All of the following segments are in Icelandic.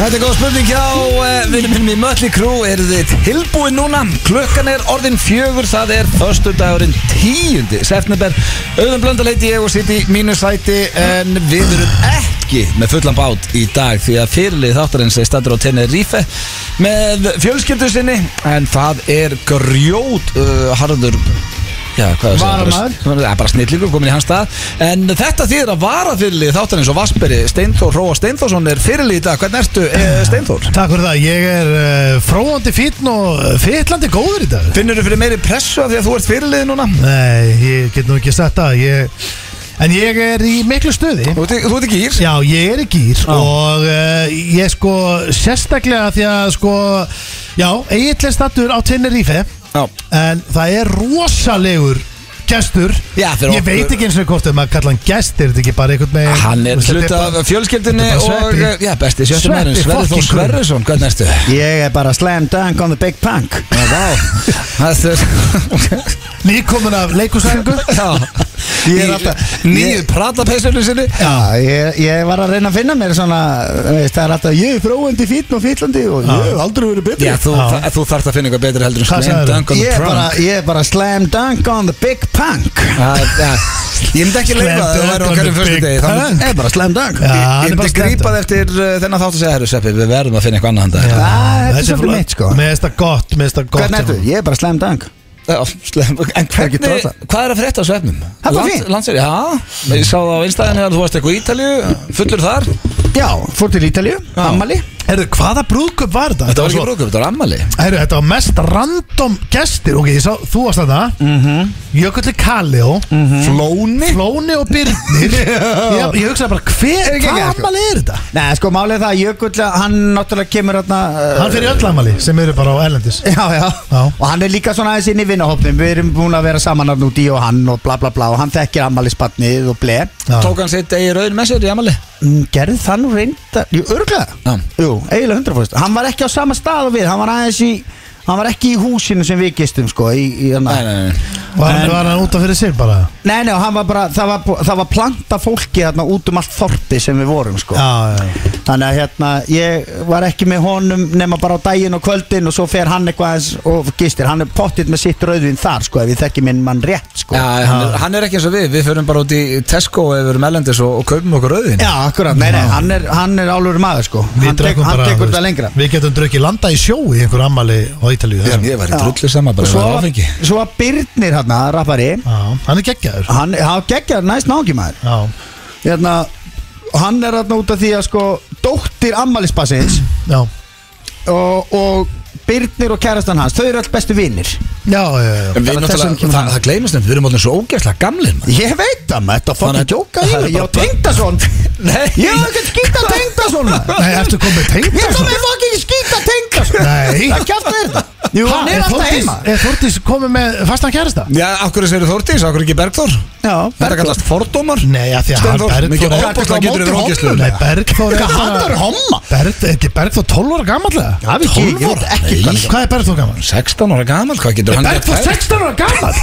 Þetta er góð spurning hjá uh, vinnum minnum í Mötli Krú Eru þið tilbúin núna? Klukkan er orðin fjögur, það er Þörstu dagurinn tíundi Sefneber, auðvitað blönduleiti ég og sitt í mínu sæti En við erum ekki með fullan bát í dag Því að fyrirlið þáttarins er stættur á Tenerife Með fjölskyldu sinni En það er grjót uh, harður Já, hvað það Varamaður. Það er bara snillingur komin í hans stað En þetta þýðir að vara fyrirlið þáttarins og Vasperi Steinþór Róa Steinþórsson er fyrirlið í dag Hvernig ertu eh, Steinþór? Takk fyrir það, ég er uh, fróðandi fítn og eh, fyllandi góður í dag Finnur þú fyrir meiri pressu af því að þú ert fyrirlið núna? Nei, ég get nú ekki sagt það ég, En ég er í miklu stuði Þú ert í- þú ert ekki ír? Já, ég er í gýr Já. og uh, ég sko sérstaklega því að sko Já, Egill er stattur á Tenerife Já. E, En það er rosalegur gestur Já, fyrir Ég okkur. veit ekki eins og hvort ef maður kalla hann gestur Er þetta ekki bara einhvern veginn Hann er Þetta hluta bara- af fjölskyldinni Þetta er bara og eh, sveppi. já, besti sjöttum Sveppi erum Sverri Þór fucking Krummi. Sverrisson, hvernig ertu? Ég er bara slam dunk on the big punk Það er Nýkomin af leikusæðingu Já Ég er alltaf- Nýju ég- pratapeysunni sinni Já, ég, ég var að reyna að finna mér svona veist, Það er alltaf, ég er fróandi fítn og fítlandi og ég hef aldrei verið betri Já, þú, Já. þa- þú þarft að finna eitthvað betur heldur en Hvað Slam sagðirðu? Dunk on ég, the er bara, Trunk ég er bara slam dunk on the big punk Það- það- Ég myndi ekki Slam leifa það dunk væri á on hverjum the fyrstu big degi punk. Ég Ég er bara slam dunk Já, hann ég er bara myndi slam grípa dunk. það eftir uh, þennan þátt að segja Herru Sveppi, við verðum að finna eitthvað annað Já, handa þetta er þetta svolítið flott. mitt, sko. Mér finnst það gott, mér finnst það gott hérna. Hvernig ertu? Ég er bara slam dunk Já, slem- En ekki hvernig, drosa. hvað er að frétta á svefnum? Það var fínt. Landsverið, já Ég sá það á einstæðinu að þú varst eitthvað í Ítalju Fullur þar Já, fór til Ítalju, ammali Herru, hvaða brúðköp var þetta? Þetta var ekki brúkup, þetta var ammali Herru, þetta var mest random gestir Ok, ég sá, þú varst þetta mm -hmm. Jökulli Kallio Mhm. Flóni Flóni og Birnir ég, ég hugsaði bara, hver, Er ekki hvað ekki, sko? ammali er þetta? Nei, sko, málið er það að Jökull, hann náttúrulega kemur hérna uh, Hann fyrir öll ammali sem eru bara á Erlendis Já, já, Já. og hann er líka svona aðeins inn í vinnahopnum Við erum búin að vera saman hann úti og hann og bla bla bla og hann þekkir ammælisbarnið og blei Já. Tók hann sitt eigi rauðin með sér í ammali Mm, Gerði það nú reynda Jú, örglega Já. Jú, eiginlega 100% Hann var ekki á sama stað og við Hann var aðeins í Hann var ekki í húsinu sem við gistum sko í, í hana. Nei, Sko. nei, nei Og hann var hann út af fyrir sig bara nei, nei og hann var bara Það var, bú- það var planta fólki þarna út um allt þorpi sem við vorum sko Já, já Þannig að hérna Ég var ekki með honum nema bara á daginn og kvöldin Og svo fer hann eitthvað aðeins og gistir Hann er pottitt með sitt rauðvin þar sko Ef við þekki minn mann rétt sko Já, hann er, hann er ekki eins og við, við förum bara út í Tesco ef við erum ellendis og, og kaupum okkur rauðin Já, akkurat, nei, nei, hann er, hann er álfur maður sko Hann, tek, drekkum hann bara, þú tekur þetta veist, lengra Við getum drukkið landa í sjó í einhver ammali á Ítalíu Já, það sem- Ég var í Já. drullu sama, bara Og við svo, varum áfengi svo að Byrnir hérna, rappari Já, hann er geggjaður hann, hann geggjar næst náki maður Já, hérna, hann er hérna út af því að sko dóttir ammælisbassins já og, og Byrnir og kærastan hans þau eru all bestu vinnir Já, já, já En við Bara þessum náttúrulega, kemur það, hann. það gleymist nefn, við erum allir svo ógeðslega gamlir maður. ég veit það maður, þetta er Þannig að- fokkin djóka það er ég á bara- tengdason Nei. ég hef ekkert skýta tengdason maður. Nei, ertu komið tengt ég kom með fokkin ekki skýta tengdason Nei. það kjátt er þetta Jú, hann er alltaf heima Er Þórdís komið með fastan kærasta? Já, akkur er Sveiri Þórtís, akkur ekki Bergþór já, Þetta kallast fordómar Nei, af því að hann Steinþór, mikið Bergþór ofboðslega getur verið ógeðslegur. Nei, Bergþór er hann er homma Bergþór, er ekki Bergþór 12 ára gammallega? Já, við ekki- ég veit ekki hvað hann er. Hvað er Bergþór gammal? 16 ára gammal, hvað getur hann gert Bergþór þær? 16 ára gammal?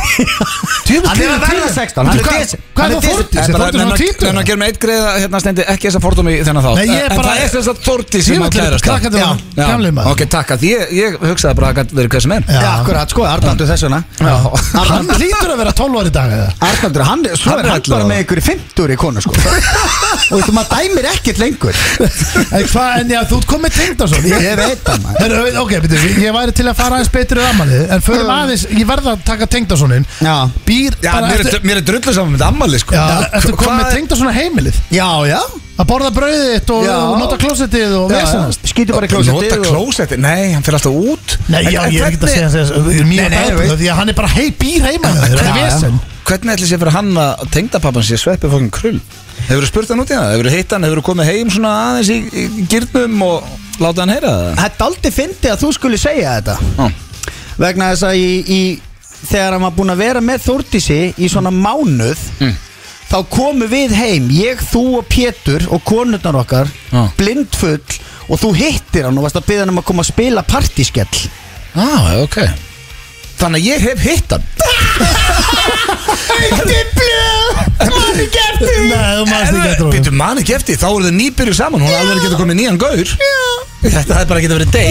Djöfull, Hann er að hvað verða 16, hann Veitu er hvað- desi- hann Hvað er er það Þórdís? En bara, Er Þórdís hann en hann tvítur? gerir með eitt greið hérna stendi ekki þessa fordómi í þennan þátt Nei, ég er En bara- það er sem sagt Þórdís sem á Djöfull er kærasta krakkandi Já, hann, já. gamli maður. Ok, takk að ég, ég hugsaði bara að það gat verið hvað sem er Já. Já, akkurat, sko, Arnaldur þessuna Hann hlýtur að vera 12 ára í dag eða? Arnaldur, hann, svo Hann er er hann bara allavega. með ykkur í 50 í konu sko Og þú maður dæmir ekkert lengur En hvað, en já, þú ert komið tengt og svona Ég veit það, maður. Herru, við- Ok, betur, ég væri til að fara aðeins betur í rammalið En förum aðeins, ég verða að taka tengt og svonin Já. Býr Já, bara mér er, eftir mér er drullu saman með ammali sko Já, eftir Hvað- komið tengt og svona heimilið Já, já, Að borða brauðið þitt og Já. og nota klósettið og já, já. vesenast Skýtu bara í klósettið Nota klósettið, nei, hann fyrir alltaf út Nei, En- já, en ég er ekki að hvernig- segja þess að Nei, mjög nei, bæðið veit. Því að hann er bara hei býr heima hjá þér, Þetta er Já, já. vesen Hvernig ætli sér fyrir hann að tengda pappan sér sveppi fókin krull? Hefur þú spurt hann út í það? Hefur þú hitt hann? Hefur þú komið heim svona aðeins í, í gyrnum og láta hann heyra það? Þetta aldrei fyndi að þú skuli segja þetta Já. Vegna þess að í, í, þegar hann var búin að vera með Þórdísi í svona mánuð Mm. Þá komu við heim, ég, þú og Pétur og konurnar okkar Já. Blindfull og þú hittir hann og varst að byggja hann um að koma að spila partískell Já, ah, ok Þannig að ég hef hitt hann Þetta er blöð, maður gerði Nei, þú maður ekki að Býtu manni kefti, þá eru þau nýbyrju saman Hún er alveg að geta komið nýjan gaur Já Þetta hefði bara getið verið date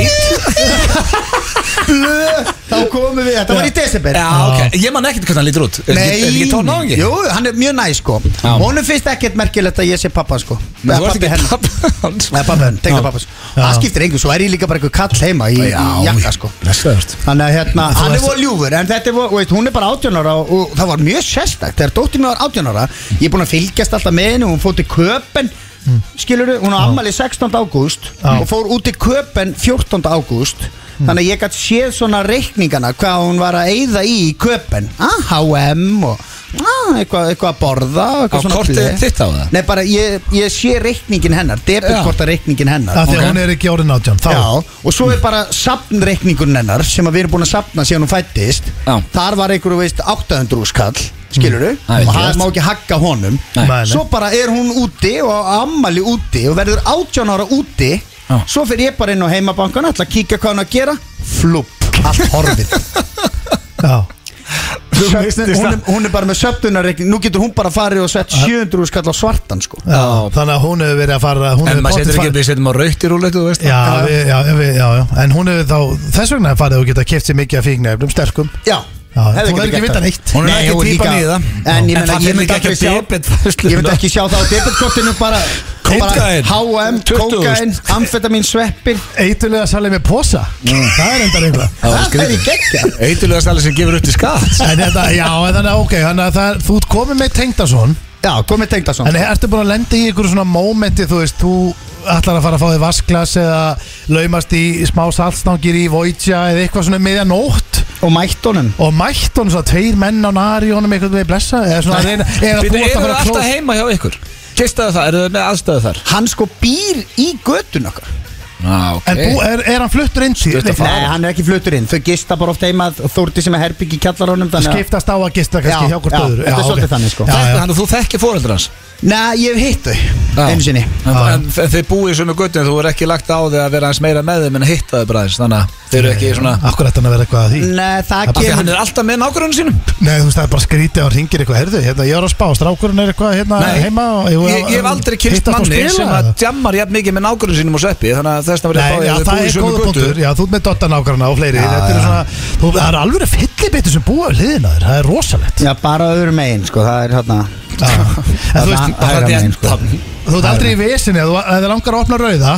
Þá komum við, þetta var í desember Já, ok Ég man ekkert hvernig hann lítur út Er Nei, ekki- Er ekki tóna á ekki? Jú, hann er mjög næ sko Já. Honum finnst ekkert merkilegt að ég sé pappa sko Þú Eða ert pabbi ekki hennar pappi hans Nei, pappa henn, tekna pappa sko Það skiptir engum, svo er ég líka bara einhver kall heima í, í jakka sko Blessaðurst Þannig að hérna, hann er varst- voru ljúfur En þetta er, voru- veit, hún er bara 18 ára og- Og það var mjög sérstakt, þegar dóttir mér var 18 ára Ég er búin að fylgjast alltaf með henni Hún fór til Köpen, skilurðu Hún á ammali 16. ágúst Já. Og fór út til Köpen 14. ágúst Þannig að ég gætt séð svona reikningana Hvað hún var að eyða í Köpen ah, H&M og ah, eitthvað, eitthvað að borða og Á eitthvað svona kortið ble. þitt á það Nei, bara ég, ég sé reikningin hennar Debitkorta reikningin hennar Af því að Ok. hún er ekki árið nátján Þá Já, og svo er bara safnreikningun hennar sem að við erum búin að safna síðan hún fættist Já. þar var einhverju veist 800 skall skiluru, Það er og ekki það verst. má ekki hagga honum Nei. Nei, nei. svo bara er hún úti og á ammali úti og verður 18 ára úti Já. svo fyrir ég bara inn á heimabankan ætla að kíkja hvað hann er að gera flupp, allt horfið Já Söfnun, hún, er, hún er bara með söpnunarreikning nú getur hún bara farið og sett 700 skall á svartan sko Já, þannig að hún hefur verið að fara hún En hefur maður pottþétt setur ekki farið- Við setjum á raukt í rúleitu, þú veist Já, við, já, við, já, já, en hún hefur þá þess vegna farið og geta keft sér mikið af fíknefnum sterkum Já, Já, hún hefði er ekki getað gert vita það. neitt. Hún er Nei, ekki og típan líka- í það. En En ég meina, það ég myndi myndi ekki ekki að sjá debitfærsluna. Ég myndi ekki sjá það á debitkortinu bara bara Kókaín. H&M, 20.000. kokain, amfetamin, sveppir Eitulega salið með posa Það er endar einhvað Það var Það er í skrítið geggja Eitulega stæli sem gefur upp til skatt En þetta, já, en þannig að ok, þannig að það er, þú ert komið með tengdason Já, komið tengda svona En ertu búin að lenda í ykkur svona mómenti, þú veist, þú ætlar að fara að fá þig vasklas eða laumast í smá saltstangir í Voidja eða eitthvað svona meðja nótt Og mættunum og mætt honum svona tveir menn á nari honum eitthvað við blessa eða svona að reyna eða Býtu, þú ert eru að þau fara að alltaf klósa heima hjá ykkur? Kistaðu það, eru þau með aðstöðu þar? Hann sko býr í götun okkar Já, ok En bú, er, er hann fluttur inn síðan? Stutt að fara. Nei, hann er ekki flutur inn Þau gista bara oft heima Þórti sem er herbygg í kjallarónum Þannig að skiptast á að gista kannski Já, hjá hvort já, öðru þetta er ok. svolítið þannig, sko. Já, Þetta já. hann og þú þekki fóreldra hans Nei, ég hef hitt þau Já. Einu sinni En, en þið búið sem er guttin, þú er ekki lagt á því að vera hans meira með þeim en að hitta þau bræðis Þannig að þau eru ekki svona Af Akkur ætti hann að vera eitthvað að því Nei, það því að hann kemur er alltaf með nákvæmum sínum Nei, þú veist, það er bara skrítið og ringir eitthvað herðu, hérna, ég er á spá, strákurinn er eitthvað hérna Nei, heima og, ég, ég hef aldrei kynst hittast og manni spila sem að jammar jafn mikið með nákvæmum sínum og sveppi Þannig að þess að vera Nei, já, það er góða punktur Já, þú ert með dottanákarna og fleiri Þetta eru svona, þú, það er alveg fyllibittu sem búa við hliðina þér, það er rosalegt Já, bara öðru megin sko Það er hérna Já. En þú veist, Hægra Það megin, er sko. það Mhm. þú ert aldrei í vesinni ef þú- ef þið langar að opna rauða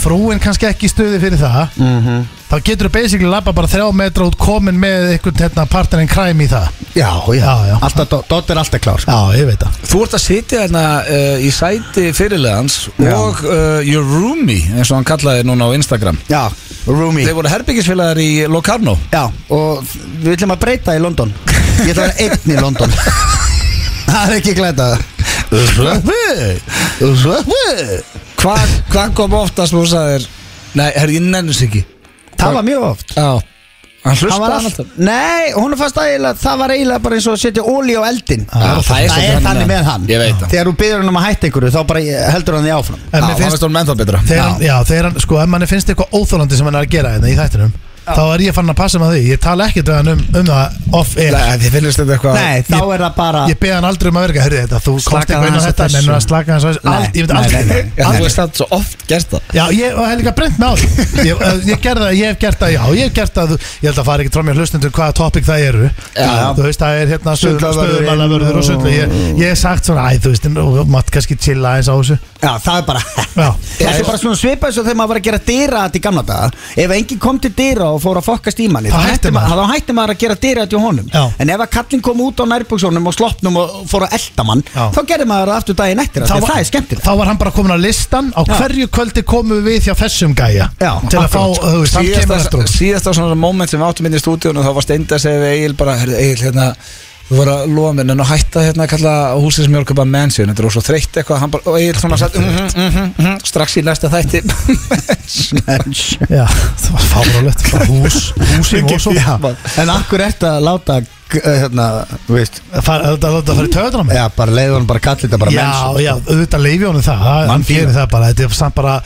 frúin kannski ekki í stuði fyrir það Mhm. þá getur þú basically labba bara þrjá metra út komin með einhvern hérna, partnerinn kræm í það Já, Já, já. já Alltaf- Doddi er alltaf klár sko. Já, ég veit það Þú ert að sitja hérna uh, í sæti fyrirlegans Já. og uh, your roomie, eins og hann kallaði þig núna á Instagram Já, Rumi Þeir voru herbyggisfélagar í Locarno Já, og við ætlum að breyta í London Ég ætla að vera einn í London Það er ekki glæta Sveppi Sveppi Hvað hva kom oftast og sagðir Nei, herri, ég nennis ekki Það var mjög oft Já Hann Það hlusta var hann allt, alltaf Nei, hún fannst að eiginlega- það var eiginlega bara eins og að setja óli á eldin Já, það er Það er þannig með hann Ég veit það Þegar þú byrður hann um að hætta einhverju þá bara heldur hann því áfram En Já, mér Það finnst, finnst hún ennþá betra þegar hann, já, þegar hann, sko, ef manni finnst eitthvað óþólandi sem hann er að gera hérna í þættinum þá er ég fann að passa með því, ég tala ekkert við hann um, um það off-air Nei, þið finnst þetta eitthvað Nei, þá ég- er það bara Ég beði hann aldrei um að verka, hörðu þetta, þú komst Slakaðu eitthvað inn á aðeins á þetta þessu. Nennir að slaka hans á þessu, Nei, Ald- ég veit nei, aldrei nei, nei. Já, aldrei- þú veist það svo oft gert það Já, ég og hef líka brent með á því Ég, eh, ég gerði það, ég hef gert það, já, ég hef gert það þú- Ég held að fara ekki frá mér hlustundum hvaða topic það eru Já. Þú veist, það er hérna Sundlaugavörðurinn stöðumannavörður og sundlu ég, ég hef sagt svona, æ, þú veist, en- og mátt kannski chilla eins á þessu Já, það er bara Já, Það er bara svona svipað eins og þegar maður var að gera dýra í gamla daga Ef enginn kom til dýra og fór að fokkast í manni Þá Þá hætti hætti maður. maður, þá hætti maður að gera dýra hjá honum Já. En ef að kallinn kom út á nærbuksónum og sloppnum og fór að elda mann Já. Þá gerði maður það aftur daginn eftir af því að Það er skemmtilegt Þá var hann bara komin á listan á hverju kvöldi komum við hjá þessum gæja Já, Til að fá, akkurat. þú veist, hann kemur eftir Síðasta okkur síðasta svona moment sem við áttum inn í stúdíun og þá var steinda að segja við Egil bara Herri, Egil, hérna Þú voru að lofa mér en að hætta hérna að kalla húsið sem ég er að köpa mansion Þetta er svo þreytt eitthvað hann bara, og Egil svona satt mm -hmm, mm strax í næsta þætti Já, það var fárálegt bara Hús, hús í Mósó Já. En akkur eftir að láta g- eh, hérna, þú veist Það var það í töðuna með Já, bara leiður hann bara kallið þetta bara sko. Já, menns já, auðvitað leifi honum það það- Hann fílar. gerir það bara Þetta er samt bara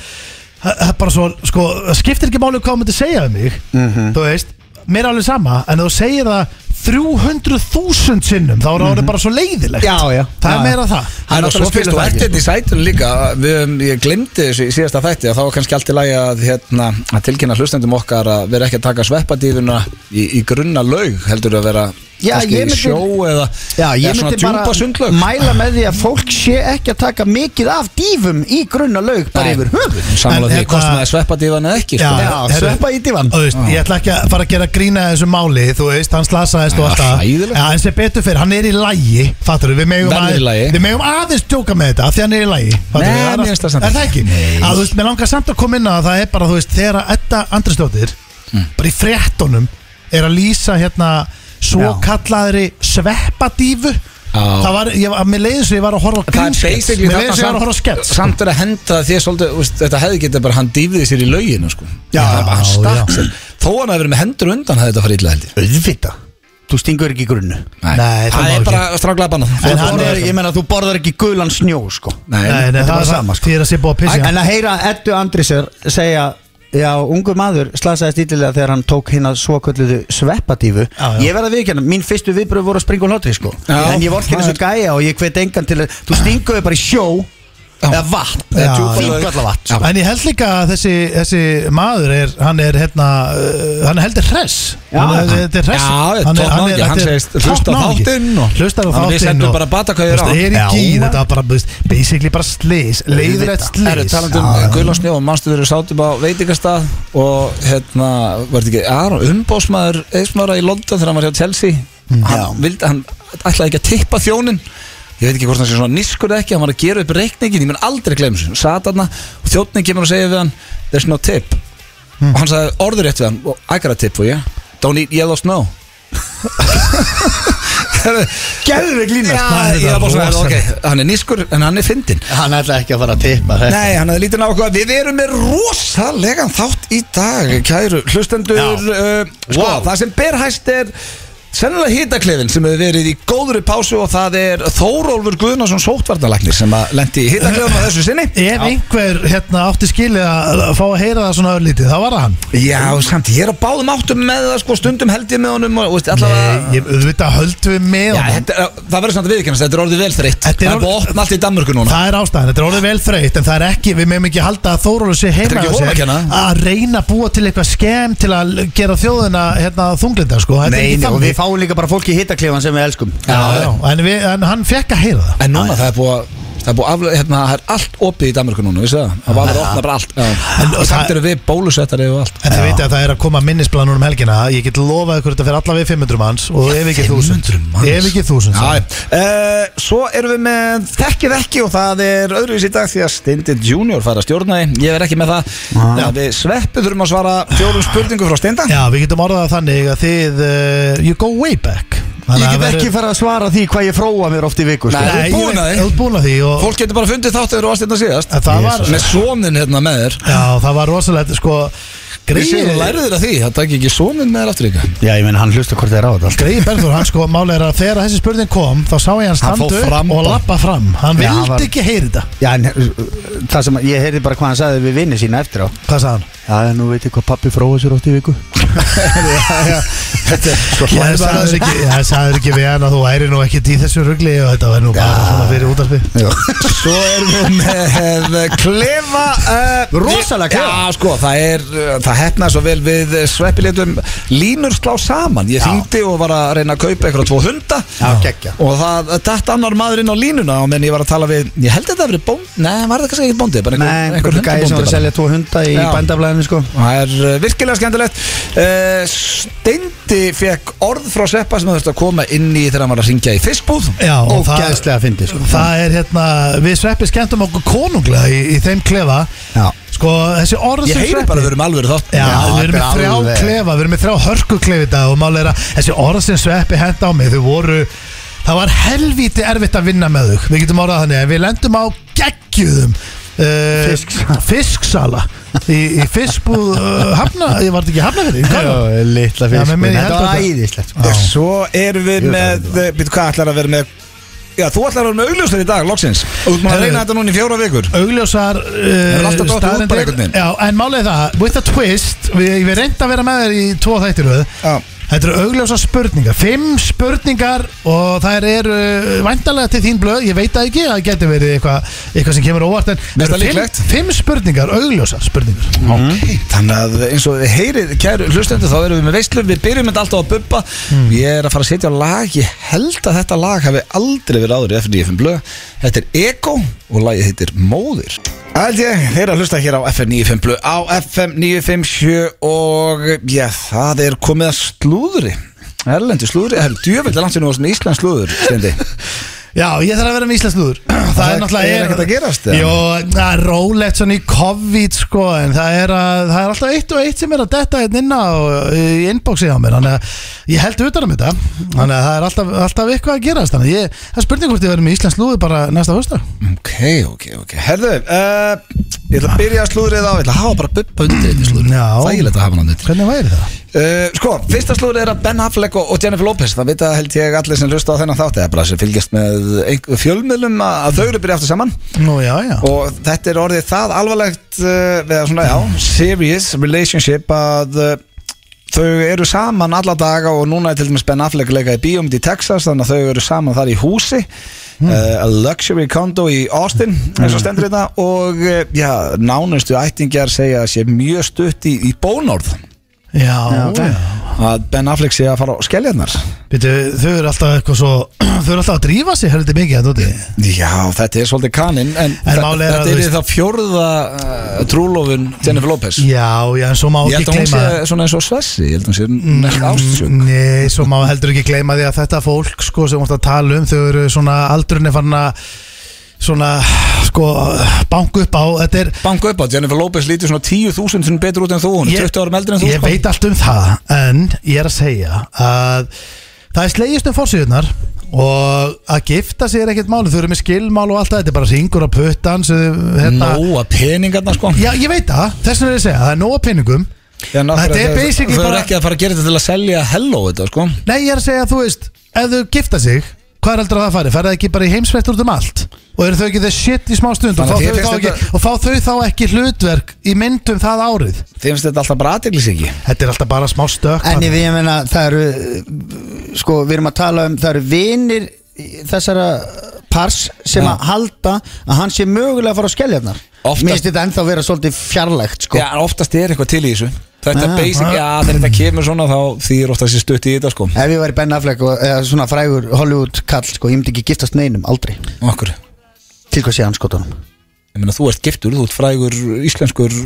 Það það er bara svo Sko, Mhm. það skiptir ekki máli hvað hann myndi segja um mig Þú veist Mér er alveg sama En ef þú segir það 300.000 sinnum þá er það orðið bara svo leiðilegt Mhm. Já, já. það Já, er já. meira það Það er Það er svo náttúrulega fyrst og spilað það ert hérna í sætunum líka við, höfum- Ég glemdi þessu í síðasta þætti að þá var kannski allt í lagi að, hérna, að tilkynna hlustendum okkar að vera ekki að taka sveppadýruna í, í grunna laug heldur að vera Já, kannski ég í myndi- sjó eða, Já, ég eða svona myndi bara djúpa sundlaug mæla með því að fólk sé ekki að taka mikið af dýfum í grunna laug bara Nei. yfir höfuð Sammála En því hérna- kostum það sveppadýruna eða ekki Já, sko. Já, herru, sveppa í dívan. þú veist, Ég ætla ekki að fara að gera grína þessu máli Þú veist, hann slasaðist Já, og allt það hræðilegt. Já, En sem betur fyrir, hann er í lægi Fattur, við megum, Verður í lagi. við megum aðeins tjóka með þetta af Því hann er í lægi Nei, mér finnst það samt Er það ekki. ekki? Að, þú veist, mér langar samt að koma inn á að það er bara Þú veist, þegar að Edda Andrisdóttir Mm. Bara í fréttunum Er að lýsa hérna Svo kallaðri sveppadífu Já. Það var, ég, var- mér leiðis ég var að horfa á Það er grínskets basically Mér leiðis ég var að horfa á samt, skets samt er að henda því að svolítið, þú veist, þetta hefði getið bara hann dýfiði sér í lauginu sko. Já, Það bara, hann stakk já. sér. Þó hann að vera með hendur undan hefði þetta farið illa held ég Auðvita Þú stingur ekki í grunnu Nei, það má það er ekki. bara stráklað bannað En Þú- hann Þú er- borðar- Ég meina þú borðar ekki gulan snjó sko Nei, Nei, nei, Þetta er það bara var sama, sama sko. Því er að sé búið að pissi En að heyra Eddu Andrisar segja Já, ungur maður slasaðist ítilega þegar hann tók hinn að svokölluðu sveppadífu Já, já. Ég verð að viðkjanna, mín fyrstu viðbröð voru að springa og hlátri sko Já, En ég vorst ekki það þessu gæja og ég hvet engan til að Þú stinguðu bara í sjó eða vatn, Já, eða já. sko. djúpalla vatn En ég held líka að þessi, þessi maður er, hann er hérna, uh, hann er heldur hress Já. Hann er- Þetta er hress Já, toppnáungi, hann segist hlusta á þáttinn og- Hlusta á Hann þáttinn við sendum bara batakveðjur á. Það er í Já. gíð, þetta var bara, þú veist, basically bara slis, leiðilegt slis Það eru talandi um Guðlandsnjó og mannstu þeirri sátum á veitingastað og hérna, var þetta ekki Aron, umbósmaður eðsmára í London þegar hann var hjá Chelsea Já. hann, vildi, hann ætlaði ekki að tippa þjónin ég veit ekki hvort hann sé svona nískur eða ekki hann var að gera upp reikningin, ég mun aldrei glemur sér sat hann og þjónin kemur og segir við hann there's no tip og hann sagði orður rétt við hann, "Well, I got a tip for you don't eat yellow snow Gerður við glínast Já, ég var bara svona, rosalegt. ok, hann er nískur en hann er fyndin Hann ætla ekki að fara að tippa þetta Nei, hann hefði lítið nákvæm Við erum með rosalegan þátt í dag Kæru, hlustendur uh, sko, Wow. Það sem ber hæst er Sennilega hitaklefin sem hefur verið í góðri pásu og það er Þórólfur Guðnarsson sóttvarnalæknir sem að lendi í hitaklefinum á þessu sinni Ef einhver hérna átti skilið að fá að heyra það svona örlítið, þá var það hann Já, samt, ég er á báðum áttum með það sko, stundum held ég með honum og veist, allavega Nei, ég auðvitað höldum við með Já, honum. þetta, er- það verður samt að viðkennast, þetta er orðið vel þreytt Þetta er Það er orðið- búið að opna allt í Danmörku núna Það er ástæðan, þetta er orðið vel þreytt en það er ekki, við meðum ekki halda að Þórólu sé heima Þetta er ekki hjá sér honum að kenna. að reyna að búa til eitthvað skemm til að gera þjóðina hérna, þunglinda sko, þetta er Nei, ekki nei, og við þannig fáum líka bara fólki í hittaklefan sem við elskum já, já, en, við, en hann fekk að heyra það En núna það er búið að Það er búið aflega, hérna, það er allt opið í Danmarku núna, vissu það? Það var að opna bara allt En- Já. Og samt eru við bólusettari og allt En þið veitir að það er að koma minnisplan núna um helgina Ég get lofað ykkur þetta fyrir allavega 500 manns Og ef ekki 1000 Ef ekki Já, 1000 sagði. uh, Svo erum við með þekkið ekki og það er öðruvis í dag því að Stindin Junior fara að stjórna því Ég er ekki með það Já, Við sveppu þurfum að svara fjórum spurningu frá Stinda Ah. Já, við getum orðað það þannig að þið uh, You go way back Þannig Ég að get verður- ekki fara að svara því hvað ég fróa mér oft í viku sko. Nei. Þú ert búin að Nei, því. ég- þú ert búin að því og- Fólk getur bara fundið þáttu þegar þú varst hérna síðast En það var- Með sonin hérna með þér Já, það var rosalegt sko Við séum greiði- lærið þér að því, það takk ekki sonin með þér aftur ykkar Já, ég menn hann hlusta hvort það er á þetta allt. Greiðin Berður, hann sko, máli er að þegar þessi spurning kom þá sá ég hann Hann standa fór fram upp og bara. lappa fram hann Já, vildi hann var- ekki heyri þetta Já, en uh, það sem ég heyrði bara hvað hann sagði við vinni sína eftir á hvað sagði hann? Já, nú veit ég hvað pappi fróa sér oft í viku Sko, Ég sagði ekki, ég sagði ekki við hann að þú væri nú ekkert í þessu rugli og þetta var nú bara svona fyrir útarpi Svo erum við með eh, klefa uh, Rosalega klefa. Já, sko, það er eh, Það hefnaði svo vel við sveppilétum Línur slá saman Ég hringdi og var að reyna að kaupa eitthvað tvo hunda Já, geggja. Og það datt annar maður inn á línuna Og menn ég var að tala við Ég held að þetta verið bónd Nei, var það kannski ekki bóndi bara Nei, einhver gæði sem hundabóndi var að bara. selja tvo hunda í Já. bændablaðinu sko Það er eh, virkilega skemmtilegt uh, Steindi fekk orð frá Sveppa sem það þurfti að koma inn í þegar hann var að ringja í fiskbúð Já, og Og það, gæðslega fyndi sko það er hérna við sveppi skemmtum okkur konunglega í, í þeim klefa Já. sko, þessi orð Ég sem heyri sveppi bara að við erum alveg þátt Já, við erum með þetta er þrjá alveg- klefa, við erum með þrjá hörkuklefi í dag og máli er að þessi orð sem sveppi henda á mig, þau voru það var helvíti erfitt að vinna með þau við getum orðað þannig að við lendum á geggjuðum uh, Fisksala. fisksala í, í fiskbúð uh, hafna, ég var þetta ekki hafna fyrir Já, litla Já, fisk menn, menn, ég Þetta held var að- æðislegt sko. Já. Svo erum við Ég veit með Býtu, hvað ætlar að vera með Já, þú ætlar að vera með augljósar í dag, loksins Og þú ert maður að Herru. reyna þetta núna í fjóra vikur augljósar er uh, alltaf dottið út bara staðreyndir. einhvern veginn. Já, en málið er það, with a twist við, við reynda að vera með þér í tvo þættiröð Já. Þetta eru augljósa spurningar Fimm spurningar og þær eru væntalega til þín blöð Ég veit það ekki, það getur verið eitthvað eitthva sem kemur á óvart En Mest eru fimm, líklegt. fimm spurningar, augljósa spurningar Mhm. Þannig að eins og þið heyrið, kæru hlustendur, þá erum við með veislu, við byrjum þetta alltaf að bubba Ég er að fara að setja á lag, ég held að þetta lag hafi aldrei verið áður í FN95 blöð Þetta er Ego og lagið heitir Móðir Held ég, þeir eru að hlusta hér á FN95 blöð, á FM957 og já, það er komið að slúðri Erlendi slúðri, það er djöfell langt sem þú varst með Íslands slúður, stendi Já, ég þarf að vera með íslenslúður Það, Það er náttúrulega er ekkert að gerast, eða? Jó, það er rólegt svona í COVID sko En það er, að, það er alltaf eitt og eitt sem er að detta hérna inn á Í inboxi á mér Þannig að ég held utan um þetta Þannig að það er alltaf, alltaf eitthvað að gerast Þannig að ég, það spurning hvort ég verið með íslenslúður bara næsta hösta Ok, ok, ok, herðu, uh, ég ætla að byrja slúðrið á, ég ætla að hafa bara bubba undir þetta slúðrið Já. Þægilegt að hafa hann undir Hvernig væri það? Uh, sko, fyrsta slúður er að Ben Affleck og, og Jennifer Lopez Það vita held ég allir sem lusta á þennan þátt Eða bara sem fylgjast með einhver- fjölmiðlum að, að þau eru byrja aftur saman Nú, já, já Og þetta er orðið það alvarlegt uh, Eða svona, já, serious relationship Að uh, þau eru saman alla daga Og núna er til dæmis Ben Affleck að leika í bíómynd í Texas Þannig að þau eru saman þar í húsi Uh, a luxury condo í Austin eins og stendur þetta og uh, já, nánustu ættingjar segja að sé mjög stutt í, í bónorð Já, já, að Ben Affleck sé að fara á skelljarnar Býtu, þau eru alltaf eitthvað svo Þau eru alltaf að drífa sig, heldur mikið að úti Já, þetta er svolítið kaninn en, þe- málið er að þetta þú er veist- það fjórða uh, trúlofun Jennifer Lopez Já, já, en svo má Ég ekki held að hún gleyma Mm, sé svona eins og Svessi Ég held að hún sé næst ástsjök Nei, svo má heldur ekki gleyma því að þetta fólk sko, sem voru að tala um, þau eru svona aldrunni farin að svona, sko, banku upp á þetta er, Banka upp á, Jennifer Lopez lítur svona 10.000 sem betur út en þú, hún er Ég- 20 árum eldur en þú ég sko. veit allt um það en ég er að segja að það er slegist um fórsíðunar og að gifta sig er ekkert máli þau eru með skilmál og allt það, þetta er bara ringur á puttan sem, hérna, Nóa peningarna sko já, ég veit það, þess vegna er ég að segja það er nóg af peningum En af hverju- Þetta er basically Þau eru bara- ekki að fara að gera þetta til að selja hello þetta sko Nei, ég er að segja að þú veist Ef þau gifta sig, hvað er heldur að það fari? Færðu það ekki bara í heimsveitt út um allt? Og eru þau ekki þess shit í smá stund Þannig og að fá, þau þér þá finnst ekki, þetta- og fá þau þá ekki hlutverk í myndum það árið? Þeim finnst þetta alltaf bara aðteglis ekki Þetta er alltaf bara smá stökk En ég, ég meina, það eru uh, sko, við erum að tala um, það eru vinir í- þessara pars sem að halda að hann sé mögulega að fara á skelljarnar Oftast- Mér finnst þetta ennþá vera svolítið fjarlægt sko. Já, en oftast er eitthvað til í þessu Þetta Ah, basic, ah. já, þegar þetta kemur svona þá þýr oftast þessi stutt í þetta sko Ef ég væri Ben Affleck og eða, svona frægur Hollywood kall, sko, ég myndi ekki giftast neinum, aldrei Okkur Til hvað sé hann skotunum Ég meina, þú ert giftur, þú ert frægur íslenskur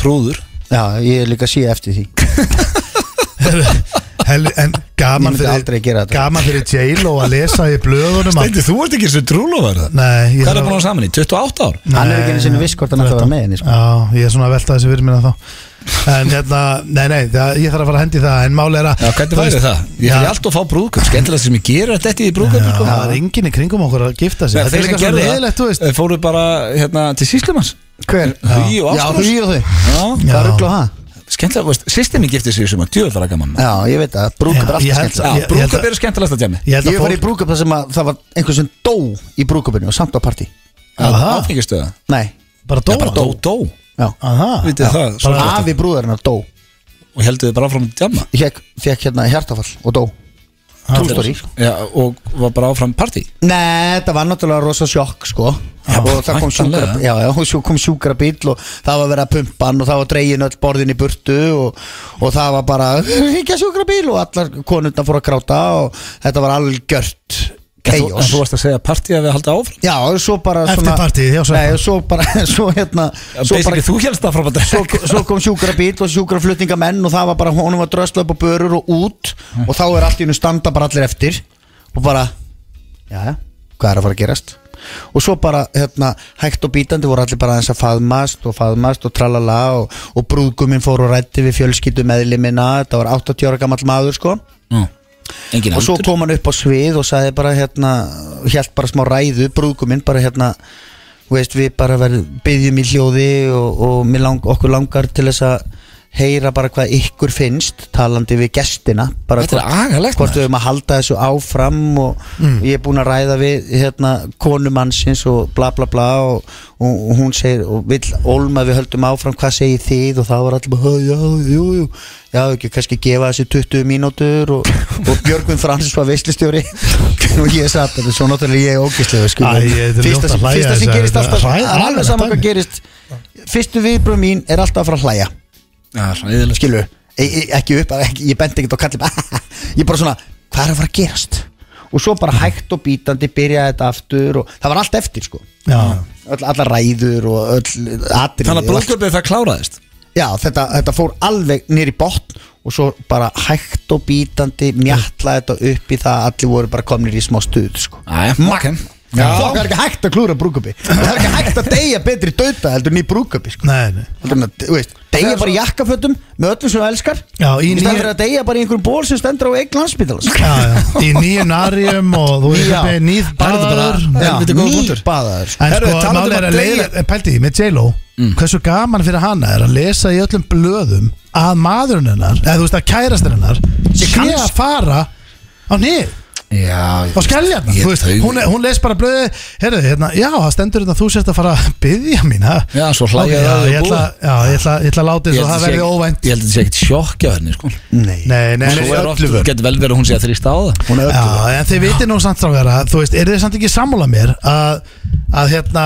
trúður Já, ég er líka að sé eftir því Hel, En gaman Ég myndi aldrei fyrir, gera þetta. gaman fyrir J-Lo að lesa í blöðunum að- þú ert ekki þessu trúlóvar það Nei, ég Hvað er búin að saman í? 28 ár? Nei, Hann er ekki einu sinni viss hvort hann ætlar að vera með henni, sko. Já, ég er svona að velta þessi fyrir mér að þá En hérna, nei, nei, það, ég þarf að fara að hendi það En máli er að Já, hvernig þú væri veist- það? Ég Já. fyrir alltaf að fá brúðköp Skemmtilega sem ég gera þetta í sko. brúðköp Já, það er enginn í kringum okkur að gifta sig Þetta er líka svo leðilegt, þú veist Þeir Eh, fóru bara hérna, til Síslimanns Hver? Hugi og Já, Ástrós Hugi og þau Já, Hvað Já. ruggla á það? skemmtilega, veist, sýstinni gifti sig sem að djöðvara gaman Já, ég veit það, brúkup er Já, alltaf ég held skemmt það. Já, ég- ég held brúðköp að- eru skemmtilegasta djami Ég held Ég að fór í fólk brúkup þar sem að það var einhver sem dó í brúkupinu og samt á partí Aha. Áfengistöða Nei, bara Já, bara dóra dó, dó já Aha. Vitið Já, það, bara- sorglegt. Afi brúðarinnar dó Og heldur þið bara áfram að djama Ég fekk hérna hjartafall og dó True story Já, og var bara áfram partí Nei, þetta var náttúrulega rosa sjokk sko Já, og það kom sjúkra, væntanlega. já, já, og svo kom sjúkra bíl og það var verið að pumpa hann og það var dregin öll borðin í burtu og, og það var bara hengja sjúkra bíl og allar konundar fór að gráta og þetta var algjört En þú- en chaos þú varst að segja partí að við halda áfram Já, og svo bara Eftir svona, partíið, já, svo- Nei, og svo bara, svo hérna svo, Basically, bara, þú helst áfram að svo, drekka svo kom sjúkra bíl og sjúkra flutningamenn og það var bara, honum var drösla upp á börur og út og þá er allt í hennu standa bara allir eftir og bara, já, já, hvað er að fara að gerast? Og svo bara, hérna, hægt og bítandi voru allir bara aðeins að faðmast og faðmast og tralala og, og brúðguminn fór og rætti við fjölskyldu meðlimina, þetta var 80 ára gamall maður, sko Já. Engin og svo aldur kom hann upp á svið og sagði bara hérna hjælt bara smá ræðu brúðguminn bara hérna þú veist, við bara verð, byggjum í hljóði og, og mig lang, okkur langar til þess að heyra bara hvað ykkur finnst talandi við gestina bara Þetta er hvort- agalegt, hvort maður. við höfum að halda þessu áfram og Mm. ég er búin að ræða við hérna, konumannsins og bla bla bla og, og, og hún segir og vill ólma við höldum áfram hvað segir þið og þá var allir bara "Ha, já, jú, jú já, ekki kannski gefa þessu 20 mínútur og, og Björgvin Frans var veistlistjóri og ég satt þetta svo náttúrulega ég er ógislega sko. Æ, þetta er ljótt fyrsta, að sem- hlæja fyrsta sem þessu, gerist þetta er alltaf hræ- það er alveg hræðilegt saman hvað dæmi. gerist fyrstu viðbröð mín er alltaf að fara að hlæja Já, ræðilegt skilu e e ekki upp, ekki, ég benti ekkert á kallið bara, ég bara svona, hvað er að fara að gerast og svo bara hægt og bítandi byrjaði þetta aftur og það var allt eftir sko Já, öll, allar ræður og öll atrið Þannig að brúðköpið það kláraðist já, þetta, þetta fór alveg nýr í botn og svo bara hægt og bítandi mjalla þetta upp í það að allir voru bara komnir í smá stuð sko Æja, ok Já. það er ekki hægt að klúra brúkupi það er ekki hægt að deyja betri dauta heldur ný brúkupi sko. nei, nei Heldur en að, þú veist, deyja bara í jakkafötum með öllum sem þú elskar Já, í í nýju- staðan fyrir að deyja bara í einhverjum ból sem stendur á eign landspítalans Já, já, í nýju narjum og þú veist Já. að beðið nýð baðaður bara- Helviti góður punktur. nýbaðaður En Herru, sko, talandi um málið er að að deyja- Mm. leiða eh, En pælti, með J-Lo, hversu gaman fyrir hana er að lesa í öllum blöðum að maðurinn hennar, eða þú veist að kærastinn hennar Sé sé kans. að fara á nýð Já, á skelljarnar, Ég þú veist, taug- hún, er- hún les bara blöði herðu, hérna, já, það stendur hérna að þú sérst að fara að byðja mín ha? Já, svo hlæja Ok, þau já, og ég ætla, já, ég ætla, ég ætla að láta Ég þess held og það þetta sé verði ekki- óvænt Ég held að þetta sé ekkert sjokk á henni, sko nei, nei, nei, Svo er nei, oft, get vel verið að hún sé að þrýsta á það hún er já, öllu en þið vitið nú samt strákara, þú veist, er þið samt ekki sammála mér að, að hérna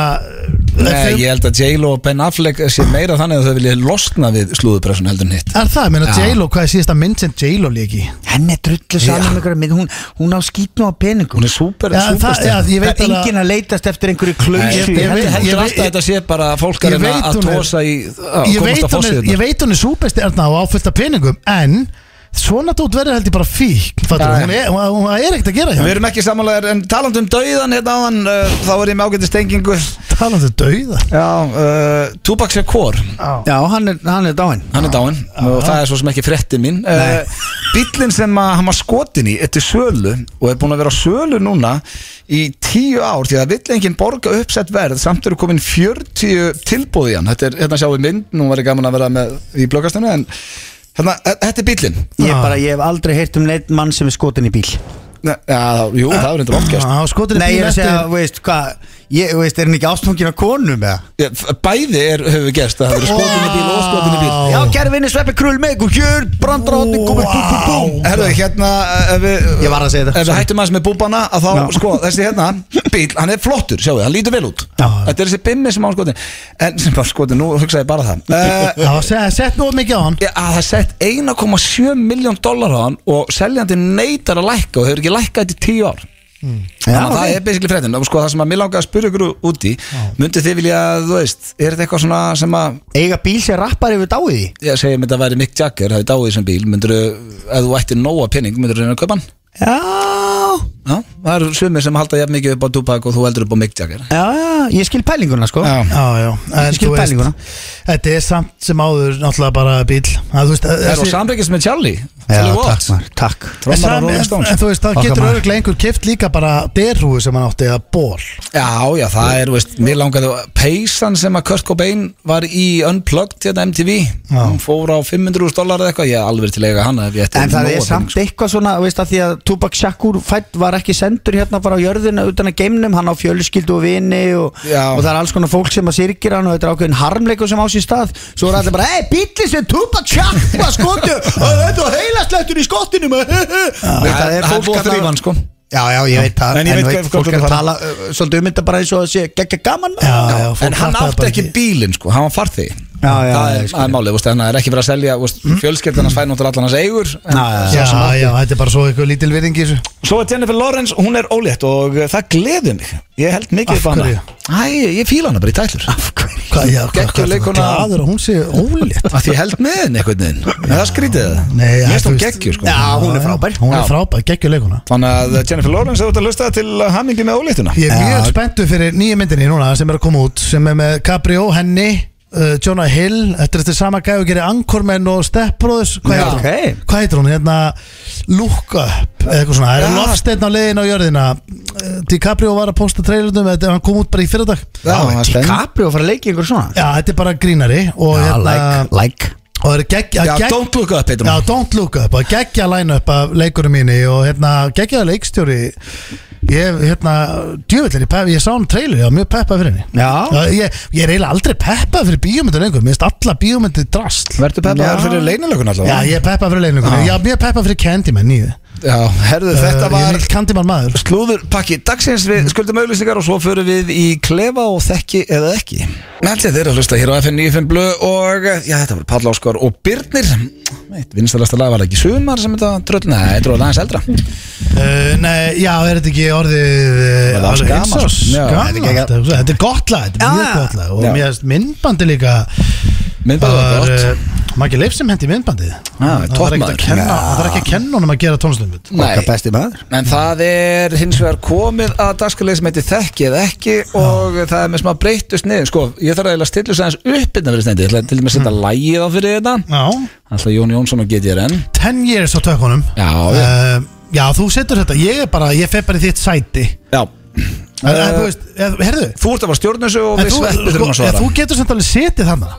Nei, þau- ég held að J-Lo og Ben Affleck sé meira þannig að þau vilja losna við slúðupressun heldur en hitt er það, ég meina Já. J-Lo, hvað er síðasta mynd sem J-Lo líki henn er drullu saman með einhverja mynd hún, hún á skýtnum á peningum Hún er súper, Já, en það- súperstjarn. já, ég veit það er alveg- enginn að leitast eftir einhverju Nei, klöngsu Ég ég held- veit- heldur ég alltaf veit- að þetta sé bara fólk er ég að- veit að hún er- tósa í að ég komast veit, að hún er, ég fósiðina veit hún er súbestjarnar og áfyllt af peningum en svona tótt verður held ég bara fík Já, já. hún er, hún, hún það er ekkert að gera hjá Við henni. erum ekki samanlegar en talandu um dauðan hérna áðan uh, þá er ég með ágæti stengingu talandi um dauða Já, uh, Tupac Shakur já, hann er, hann er dáinn hann er dáinn og það er svo sem ekki frettin mín uh, bíllinn sem að hann var skotin í eftir sölu og er búin að vera á sölu núna í tíu ár því að vill enginn borga uppsett verð samt eru komin 40 tilbúð í hann þetta er, hérna sjáum við mynd, nú var ég gaman að vera með í blöggastunni en hérna, e- þetta er bíllinn ég, Já. bara, ég hef aldrei heyrt um neitt mann sem er skotin í bíl Ne- Já, þá- jú, það er reyndur okkjast Já, skotin nei, ég er að segja, veist, hvað ég, veist, er hann ekki ástfangin af konu með það Ég- f- Bæði er, hefur gerst að það eru skotin í bíl og skotin í bíl Vá. Já, kæri vinni, sveppi krull með ykkur Hjör, brandrótni, komið, bú, bú, bú Herðu, hérna ef við, Ég var að segja Ef þetta, við sorry. hættum aðeins með búbana að þá, sko, þessi hérna bíl, hann er flottur, sjáu, hann lítur vel út Já. Þetta er þessi bimmi sem á skotin En sem bara skotin, nú hugsaði ég bara það uh, Já, sett, sett nú mikið á hann Ég, að það er sett 1,7 miljón dólar á hann og seljandi neytar að lækka og hefur ekki lækkað þetta í 10 ár Já, Þannig að það ok. er basically fréttin og sko það sem að mér langaði að spyrja ykkur út í myndi þið vilja, þú veist, er þetta eitthvað svona sem að, Eiga bíl sem rappar yfir dáið í ég segi myndi að væri Mick Jagger hafi dáið sem bíl, myndir ef þú ættir nóa pening, myndir reyna að kaupa hann Já, Já, það eru sumir sem halda jafn mikið upp á Tupac og þú heldur upp á Mick Jagger já, já, ég skil pælinguna sko Já, já, en skil þú veist, pælinguna. Þetta er samt sem áður náttúrulega bara bíl að, þú veist, Það er á þessi, samreikist með Charlie Já, Charlie takk Watts maður, takk en, Trommar á sam, Rolling en, Stones en þú veist, það Okkar getur maður. örglega einhver keft líka bara derhúi sem hann átti eða ból Já, já, það er, veist, mér langaði að- peysan sem að Kurt Cobain var í Unplugged hérna MTV hún fór á 500.000 dólar eða eitthvað ég er alveg til að eiga hana ef ég ætti En það er nóga pening, samt sko. eitthvað svona, veist að því að Tupac Shakur fætt var ekki sendur hérna bara á jörðina utan að geimnum, hann á fjölskyldu og vini og, Já. og það er alls konar fólk sem að syrkir hann og þetta er ákveðin harmleikur sem á sér stað Svo er allir bara, ei, bíli sem Tupac Shakur var skotu, þetta var heilaslættur í skottinu sko. Það Það er fólk að þrýfa hann sko Já, já, ég veit það En ég veit hvað- fólk hvað þú er að þarf. tala uh, svolítið ummynda bara eins og að sé geggja gaman Já, já, fólk En hann fattaði átti bara ekki bílinn sko, hann var farþegi Já, já, Það er- ég skil. Mhm. það er málið, veist, hann er ekki verið að selja veist, fjölskyldan hans fær náttúrulega allan hans eigur en Já, já, Já, já, þetta er bara svo eitthvað lítil virðing í þessu Svo er Jennifer Lawrence, hún er ólétt og uh, það gleði mig Ég held mikið Af upp á hana hverju? Æ, ég fíla hana bara í tætlur Af Hvað, já, hvað, Geggjuð hvað, hvað, leikkona. glæður að hún sé ólétt því ég held með henni einhvern veginn En það skrítið það Nei, Mér já, finnst þú hún veist. geggjur sko Já, hún er frábær Hún Já. er frábæð, geggjur leikuna Þannig að Jennifer Lawrence hefur þetta að hlusta til hamingi með óléttuna Ég er mjög spenntu fyrir nýju myndinni núna sem er að koma út sem er með Cabrio, Henny uh, Jonah Hill, þetta er þetta sama gæðu að gera Anchorman og Step Brothers Hvað Já, heitir hún? ok. Hvað heitir hún? Hérna Look Up eða eitthvað svona, það er Já. lofsteinn á leiðin á jörðina Uh, DiCaprio var að posta trailernum þetta hann kom út bara í fyrirdag Já, það er spenn DiCaprio að fara að leika í einhver svona Já, þetta er bara grínari og, Já, hérna, like, like Og það eru geggja Já, don't look up heitir hún. Já, don't look up og geggja line-up af leikurum mínu og hérna, geggja leikstjóri ég, hérna, djöfell er ég peppa ég sá hann trailer, ég var mjög peppa fyrir henni Já. ég, ég er eiginlega aldrei peppa fyrir bíómyndir lengur, mér finnst alla bíómyndir drasl Verður peppaður fyrir leinilökun Já, allavega? ég er peppa fyrir leikunum, ég er mjög peppa fyrir Candyman nýðu Já, herðu, þetta Uh, Ég er var mikill Candyman maður slúðurpakki dagsins við skuldum auðlýsingar og svo förum við í klefa og þekki eða ekki Nættið þeir eru að hlusta hér á FN 95 Blö og já, þetta voru Pall Áskar og Birnir Eitt vinstalasta lag var það ekki sumar sem þetta tröll Nei, þetta var aðeins eldra Uh, nei, já, er þetta ekki orðið Var uh, það alveg gamalt? einsás Já, gamalt? þetta er Þetta er- þetta er gott lag, þetta er mjög gott lag og Já. mér finnst myndbandi líka Myndbandið var gott. eh, Maggi Leif sem hendi myndbandið það er Það þarf ekki toppmaður. að kenna- það þarf ekki að kenna honum að gera tónlistumut Nei. Okkar besti maður En það er hins vegar komið að dagskalegi sem heitir þekki eða ekki og það er með smá breytust niður sko, ég þarf eiginlega að stilla þess aðeins upp innan fyrir stendi, ég ætla til dæmis að setja lægið á fyrir þetta Já, Alltaf Jón Jónsson og GTRN 10 years á tökunum Já, já, uh, Já, þú setur þetta, ég er bara, ég fer bara í þitt sæti já. En en þú veist, eh, herðu Þú ert að fara stjórnussu og en við þú, sveppið sko, þurfum um að en svara þú getur samt alveg setið þannig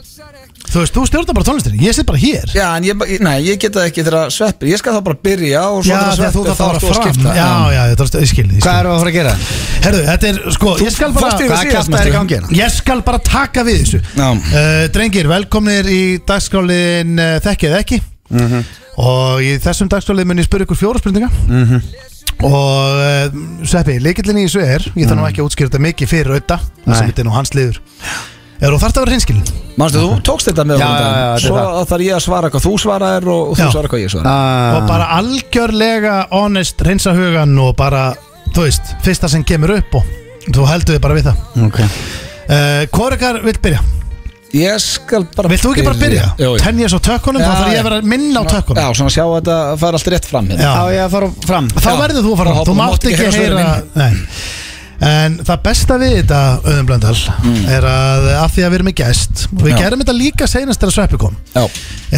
Þú veist, þú stjórnar bara tónlistinni, ég set bara hér Já, en ég, nei, ég geta ekki þegar að sveppi Ég skal þá bara byrja og svo Já, þegar þegar þú sveppir ert þarf að fara að fram skipta. Já, já, þetta er ég skil, ég skil Hvað erum við að fara að gera? Herðu, þetta er, sko, ég skal bara fórst yfir Hvað síðast, kjafta er í manstu? gangi hérna? Ég skal bara taka við þessu Já. uh, Drengir, velkomnir í dagskálin uh, Þekkið eða ekki Mhm. Og í þessum dagskálið mun ég spyrja ykkur fjóra spurninga Mhm. Og uh, Sveppi, leikillin í þessu er Ég þarf nú ekki að útskýra þetta mikið fyrir auðta Það sem Mhm. Nei. þetta er nú hans liður Er þú þarft að vera hinskilin? Manstu, þú tókst þetta með Já, okkur um já, já, daginn. þetta er Svo það. þarf ég að svara hvað þú svaraðir og, og þú Já. svarar hvað ég svara Og Ah, bara algjörlega honest, reynsa hugan og bara, þú veist, fyrsta sem kemur upp og þú heldur þið bara við það ok. uh, Hvor ykkar vill byrja? Ég skal bara Vilt þú ekki bara byrja? Jú, jú. Tenni ég svo tökkunum, Já, þá þarf ég að vera minna á tökkunum Já, svona sjá að þetta fara allt rétt fram hérna Já. Á ég að fara fram Þá Já. verður þú að Þá fara, hoppa- þú mátt ekki svörin heyra Nei. En það besta við þetta, Öðum Blöndal Er að, að því að við erum í gest og Við Mm. Já. gerum þetta líka seinast þegar sveppi kom Já,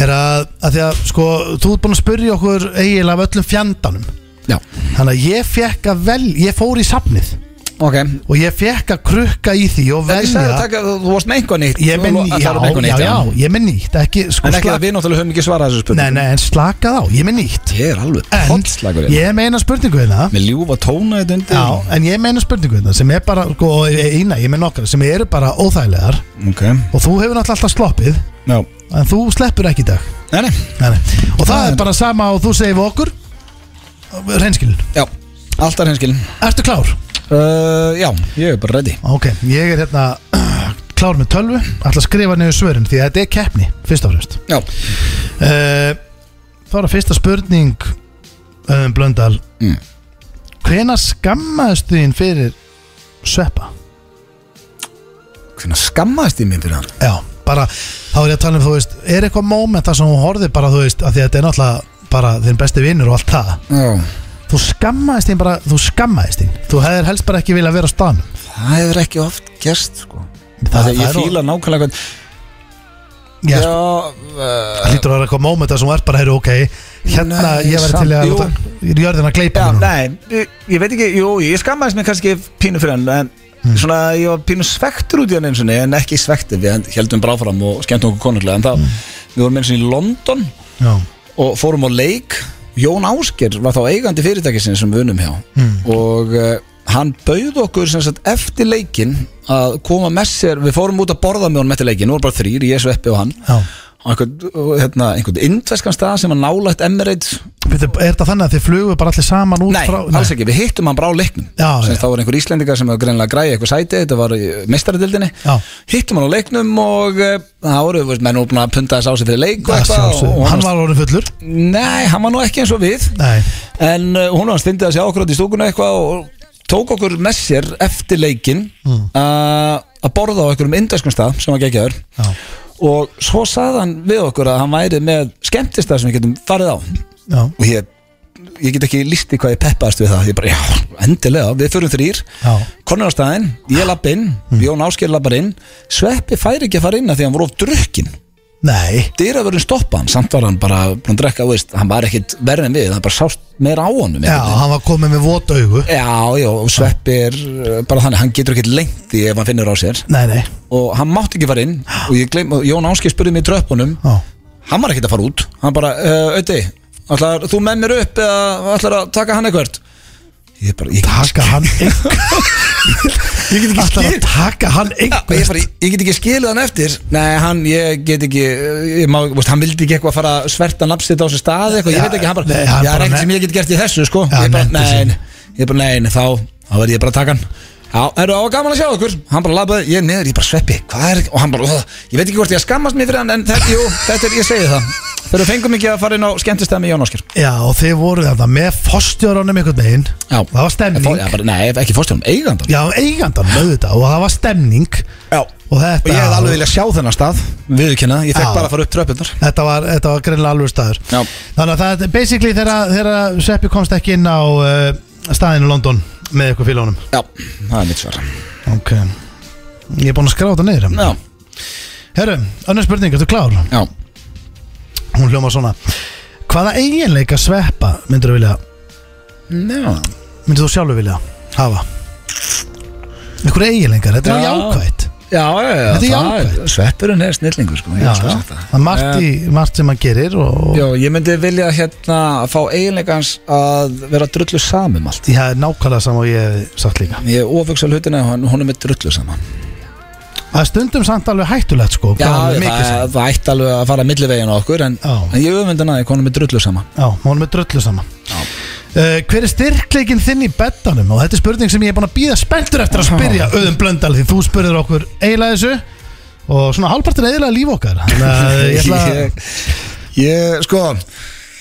Er að, að því að, sko, þú ert búin að spyrja okkur eiginlega af öllum fjandanum já, Þannig að ég fekk að vel, ég fór í safnið ok Og ég fekk að krukka í því og En ég sagði að velja taka, þú, þú varst með einhvað nýtt Ég minn, Þú- já, að tala um eitthvað já, nýtt, já, ég minn nýtt Ekki, sko, En ekki slak- að við náttúrulega höfum ekki svarað þessu Nei, spurningu nei, en slakað á, ég er með nýtt Ég er alveg En hotslagur hérna. ég meina spurningu hérna Með ljúfa tóna þetta undir Já, en ég meina spurningu hérna sem er bara, sko, og eina, ég meina nokkra sem eru bara óþægilegar Ok, og þú hefur náttúrulega alltaf sloppið já en þú sleppur ekki í dag Nei, nei, nei, nei. og það Nei. er bara sama og þú segir við okkur reynskilin, já Alltaf hinskilin ertu klár? uh, Já, ég er bara ready Ok, ég er hérna klár með tölvu, ætla að skrifa niður svörin því að þetta er keppni, fyrst og fremst Já, uh, Þá er að fyrsta spurning um, Blöndal Mm. Hvena skammaðist þín fyrir sveppa? hvernig skammaðist ég mér fyrir hann Já, bara þá er ég að tala um þú veist er eitthvað moment þar sem hún horfið bara þú veist að því að þetta er náttúrulega bara þinn besti vinnur og allt það Já Þú skammaðist þín bara, þú skammaðist þín Þú hefðir helst bara ekki viljað vera á stanum Það hefur ekki oft gerst sko Það, Það- það ég er nú- fíla nákvæmlega hvern Já, Já, sko, uh, það lítur að vera eitthvað moment þar sem hún er bara, heyru, ok Hérna, Nei, ég verið samt, til í að jú. láta, jörðina gleypa já mig núna. nei, ég, ég veit ekki, jú, ég skammaðist mér kannski pínu fyrir hann En svona, ég var pínu svektur út í hann eins og niður En ekki svektur, við heldum bráfram og skemmtum okkur konunglega En það, við vorum eins og í London Já, og fórum á leik Jón Ásker var þá eigandi fyrirtækisin sem við unum hjá Hmm. og uh, hann bauð okkur sem sagt eftir leikin að koma með sér við fórum út að borða með honum eftir leikin, nú var bara þrýr, ég, Sveppi og hann já og einhvern, og, hérna, einhvern indveskan stað sem var nálægt Emirates Býttu, Er þetta þannig að þið flugu bara allir saman út Nei, frá alls ekki, við hittum hann bara á leiknum Já, sem já. þá var einhver Íslendingar sem var greinlega að græja eitthvað sæti, þetta var mestaradildinni Já. hittum hann á leiknum og eh, það voru, þú veist, menn voru búin að punta þess á sig fyrir leik og Það eitthvað sjálfsögðu. og, og Hann var orðin fullur Nei, hann var nú ekki eins og við Nei. En uh, hún var stundið að sjá okkur átt í stúkuna eitthvað og tók okkur með sér eftir leikin mm. að borða á einhverjum indæskum stað sem var geggjaður Já. og svo sagði hann við okkur að hann væri með skemmtistað sem við getum farið á og Já, ég, ég get ekki lísti hvað ég peppaðist við það ég bara, já, endilega, við förum þrýr já, Mm. konur á staðinn, ég lapp inn Jón Ásker lappar inn, Sveppi fær ekki að fara inn að því hann voru of drukkin nei dyravörðin stoppa hann samt var hann bara búin að drekka, þú veist, hann var ekkit verri en við hann bara sást meira á honum Já, einhvern veginn. hann var komið með vót augu já, já, og Sveppi er uh, bara þannig, hann getur ekkit lengt í ef hann finnur á sér Nei, nei, og hann mátti ekki fara inn og ég gleym, og Jón Áski spurði mig í tröppunum já Hann var ekkert að fara út Hann bara, uh, Öti, ætlar þú með mér upp eða ætlar að taka hann eitthvert Ég bara, ég, Taka hann einhver Ég get ekki skil að taka hann Ég, ég, einhver bara, ég get ekki skilið hann eftir Nei, hann, ég get ekki ég má, veist, Hann vildi ekki eitthvað fara að sverta nafnsitt á sér stað eitthvað, ég Já, veit ekki, hann bara nei, nei, hann Já, það bara er ne- ekkert sem ég get gert í þessu, sko Já, Ég bara, nefndi sig. nein, ég bara, nein, þá þá verði ég bara að taka hann Já, eru á gaman að sjá okkur Hann bara labbaði, ég niður, ég bara sveppi Hvað er, og hann bara, "Ugh." ég veit ekki hvort ég að skammast mér fyrir hann En þetta, jú, þetta er, ég segi það Þegar við fengum ekki að fara inn á skemmtistæð með Jón Áskir Já og þið voru þetta með fostjóranum einhvern veginn Já. Það var stemning Já, bara, Nei, ekki fórstjónum, eigandan Já, eigandan auðvitað og það var stemning Já, og þetta, og ég hef alveg vilja sjá þennan stað Viðurkenna, ég fekk Já. bara að fara upp tröpurnar þetta var, þetta var greinlega alveg staður Já. Þannig að það er basically þegar, þegar Sveppi komst ekki inn á uh, staðinu í London með ykkur félónum Já, það er mitt svar Ok Ég er búinn að skrá þetta niður hérna. Já, Herru, önnur spurning, ertu klár? já Hún hljóma svona Hvaða eiginleika sveppa myndur þú vilja Já, myndur þú sjálfur vilja hafa? Ykkur eiginleikar, þetta er Já. jákvætt já, já, já Þetta er það jákvætt. Sveppurinn er snillingur sko ég Já, skal já. sagt það. Eh. það er margt, í, margt sem maður gerir og, og Já, ég myndi vilja hérna fá eiginleikans að vera drullu samum allt því það er nákvæmlega saman og ég hef sagt líka Ég ofugsa hlutina að hún er með drullu saman Það er stundum samt alveg hættulegt sko Já, hvað hún er mikið það saman. það ætti alveg að fara millivegin á okkur En, Já. en ég öfund hana að hún er með drullu saman Já, hún er með drullu saman uh, Hver er styrkleikinn þinn í bettanum? Og þetta er spurning sem ég er búin að býða spenntur eftir að spyrja Öðum Blöndal því þú spurðir okkur eiginlega þessu Og svona hálfpartin eiginlega líf okkar Þannig að ég ætla Ég, ég, sko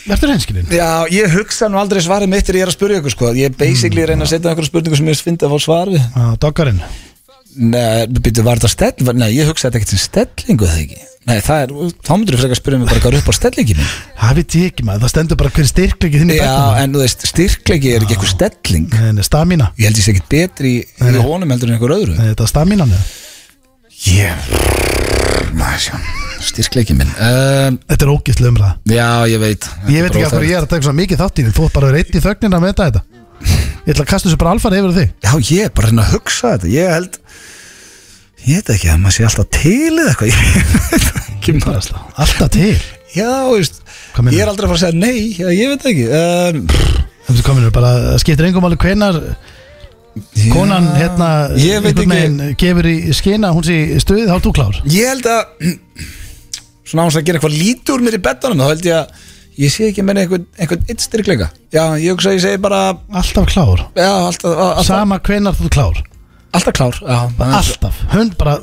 Eftir hinskilin Já, ég hugsa nú aldrei svarið mitt þegar ég er að spyrja ykkur sko Ég basically reyna að setja einhverja spurningu sem ég finnst að fá svar við Doggarinn Nei, býttu, var þetta stell? var- Nei, ég hugsaði þetta ekkert sem stellingu það ekki Nei, það er, þá myndur þú frekar að spyrja mig bara hvað er upp á stellingi mín Það veit ég ekki maður, það stendur bara hver er styrkleikinn þinn í Já, bettanum en þú veist, styrkleiki er ekki eitthvað stelling En stamina Ég held ég sé ekkert betri í, í honum heldur en einhver öðru Er Þetta staminan eða? Ég, maður sjá, styrkleiki minn um, Þetta er ógæstlega umræða Já, ég veit Ég veit ekki af hverju ég er að taka svo mikið þátt í því Þú ert bara að vera eitt í þögnina með þetta Ég ætla að kasta þessu bara alfari yfir á þig Já, ég er bara að reyna að hugsa þetta Ég held, ég veit ekki að maður sé alltaf til eða eitthvað Ég veit ekki maður Alltaf til Já, þú veist, Hvað meinarðu? ég er aldrei að fara að segja nei Já, ég veit það ekki um, Þetta kominu bara, það skiptir engum alveg hvenar konan hérna ég veit einhvern ekki. veginn gefur í skina hún sé í stuðið, þá er þú klár Ég held að Svona án sem að gera eitthvað lítið úr mér í betanum Þá held ég að ég sé ekki meina einhvern, einhvern eitt styrkleika Já, ég hugsa að ég segi bara Alltaf klár, Já, alltaf, alltaf, sama hvenar þú ert klár alltaf klár já, Alltaf, hund bara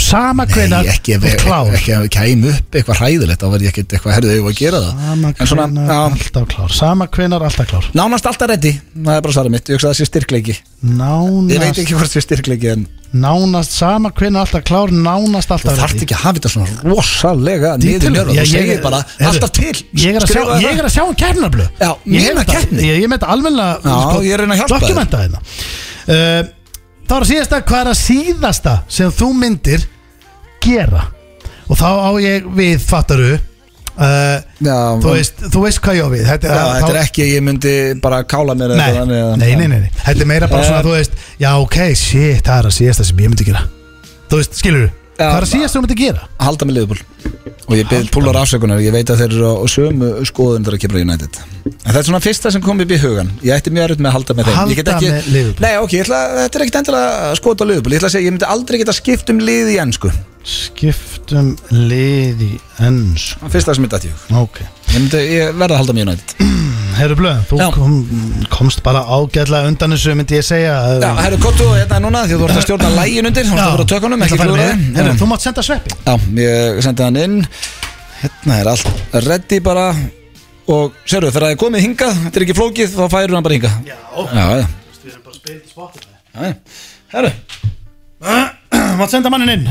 sama hvenar Nei, ekki ef þú ert klár ekki ef við kæm upp eitthvað hræðilegt þá verði ég ekkert eitthvað herðu að gera það Sama en svona, hvenar, já, alltaf klár Sama hvenar, alltaf klár nánast alltaf reddi það er bara svarið mitt, ég hugsa að það sé styrkleiki ég veit Nánast, ekki hvort sé styrkleiki en nánast sama hvenar, alltaf klár Nánast þú alltaf þarft ready. ekki að hafa þetta svona rosalega niður Detail- njörða, Já, þú ég- segir bara heyrðu, alltaf til, Ég er að sjá, Skrifaðu ég það. er að sjá um kefnablu Já, mína keppni. Ég, ég með þetta alveg Já, ég er að reyna að hjálpa þér. Dokumenta þeirna uh, Það var síðasta, hvað er að síðasta sem þú myndir gera Og þá á ég við, fattaru uh, Já, þú, veist, þú veist hvað ég á við Þetta, Já, þá- þetta er ekki að ég myndi bara kála mér Nei, nei, nei, nei, nei, þetta er meira bara svona, Eh. þú veist Já, ok, shit, það er að síðasta sem ég myndi gera Þú veist, skilur Já, Hvað er að síðasta sem þú myndi gera? Halda mig liðbúl Og ég byrði púlar afsökunar Ég veit að þeir eru á sömu skoðun þegar að kemur á United En þetta er svona fyrsta sem kom upp í hugan Ég ætti mjög erut með að halda með þeim Ég get Halda ekki, með Liverpool. Nei, ok, ég ætla, þetta er ekkit endilega að skota á liðbúl Ég ætla að segja, ég myndi aldrei geta skipt um lið í ennsku Skiptum liði enns Fyrsta sem ég dætti hug Ok Ég, myndi, ég verða að halda með United Herru Blöð, þú Já. kom, komst bara ágæðlega undan þessu myndi ég segja Já, herru, kottu hérna núna Því þú ert að stjórna lægin undir Þú ert að vera á tökunum, ekki klúðra þeim. Já. Herru, þú mátt senda sveppi Já, ég sendi hann inn Hérna er allt ready bara Og sérðu, þegar það er komið hingað Þetta er ekki flókið, þá færur hann bara hingað Já, já, já, já. Herru, Mátt senda mannin inn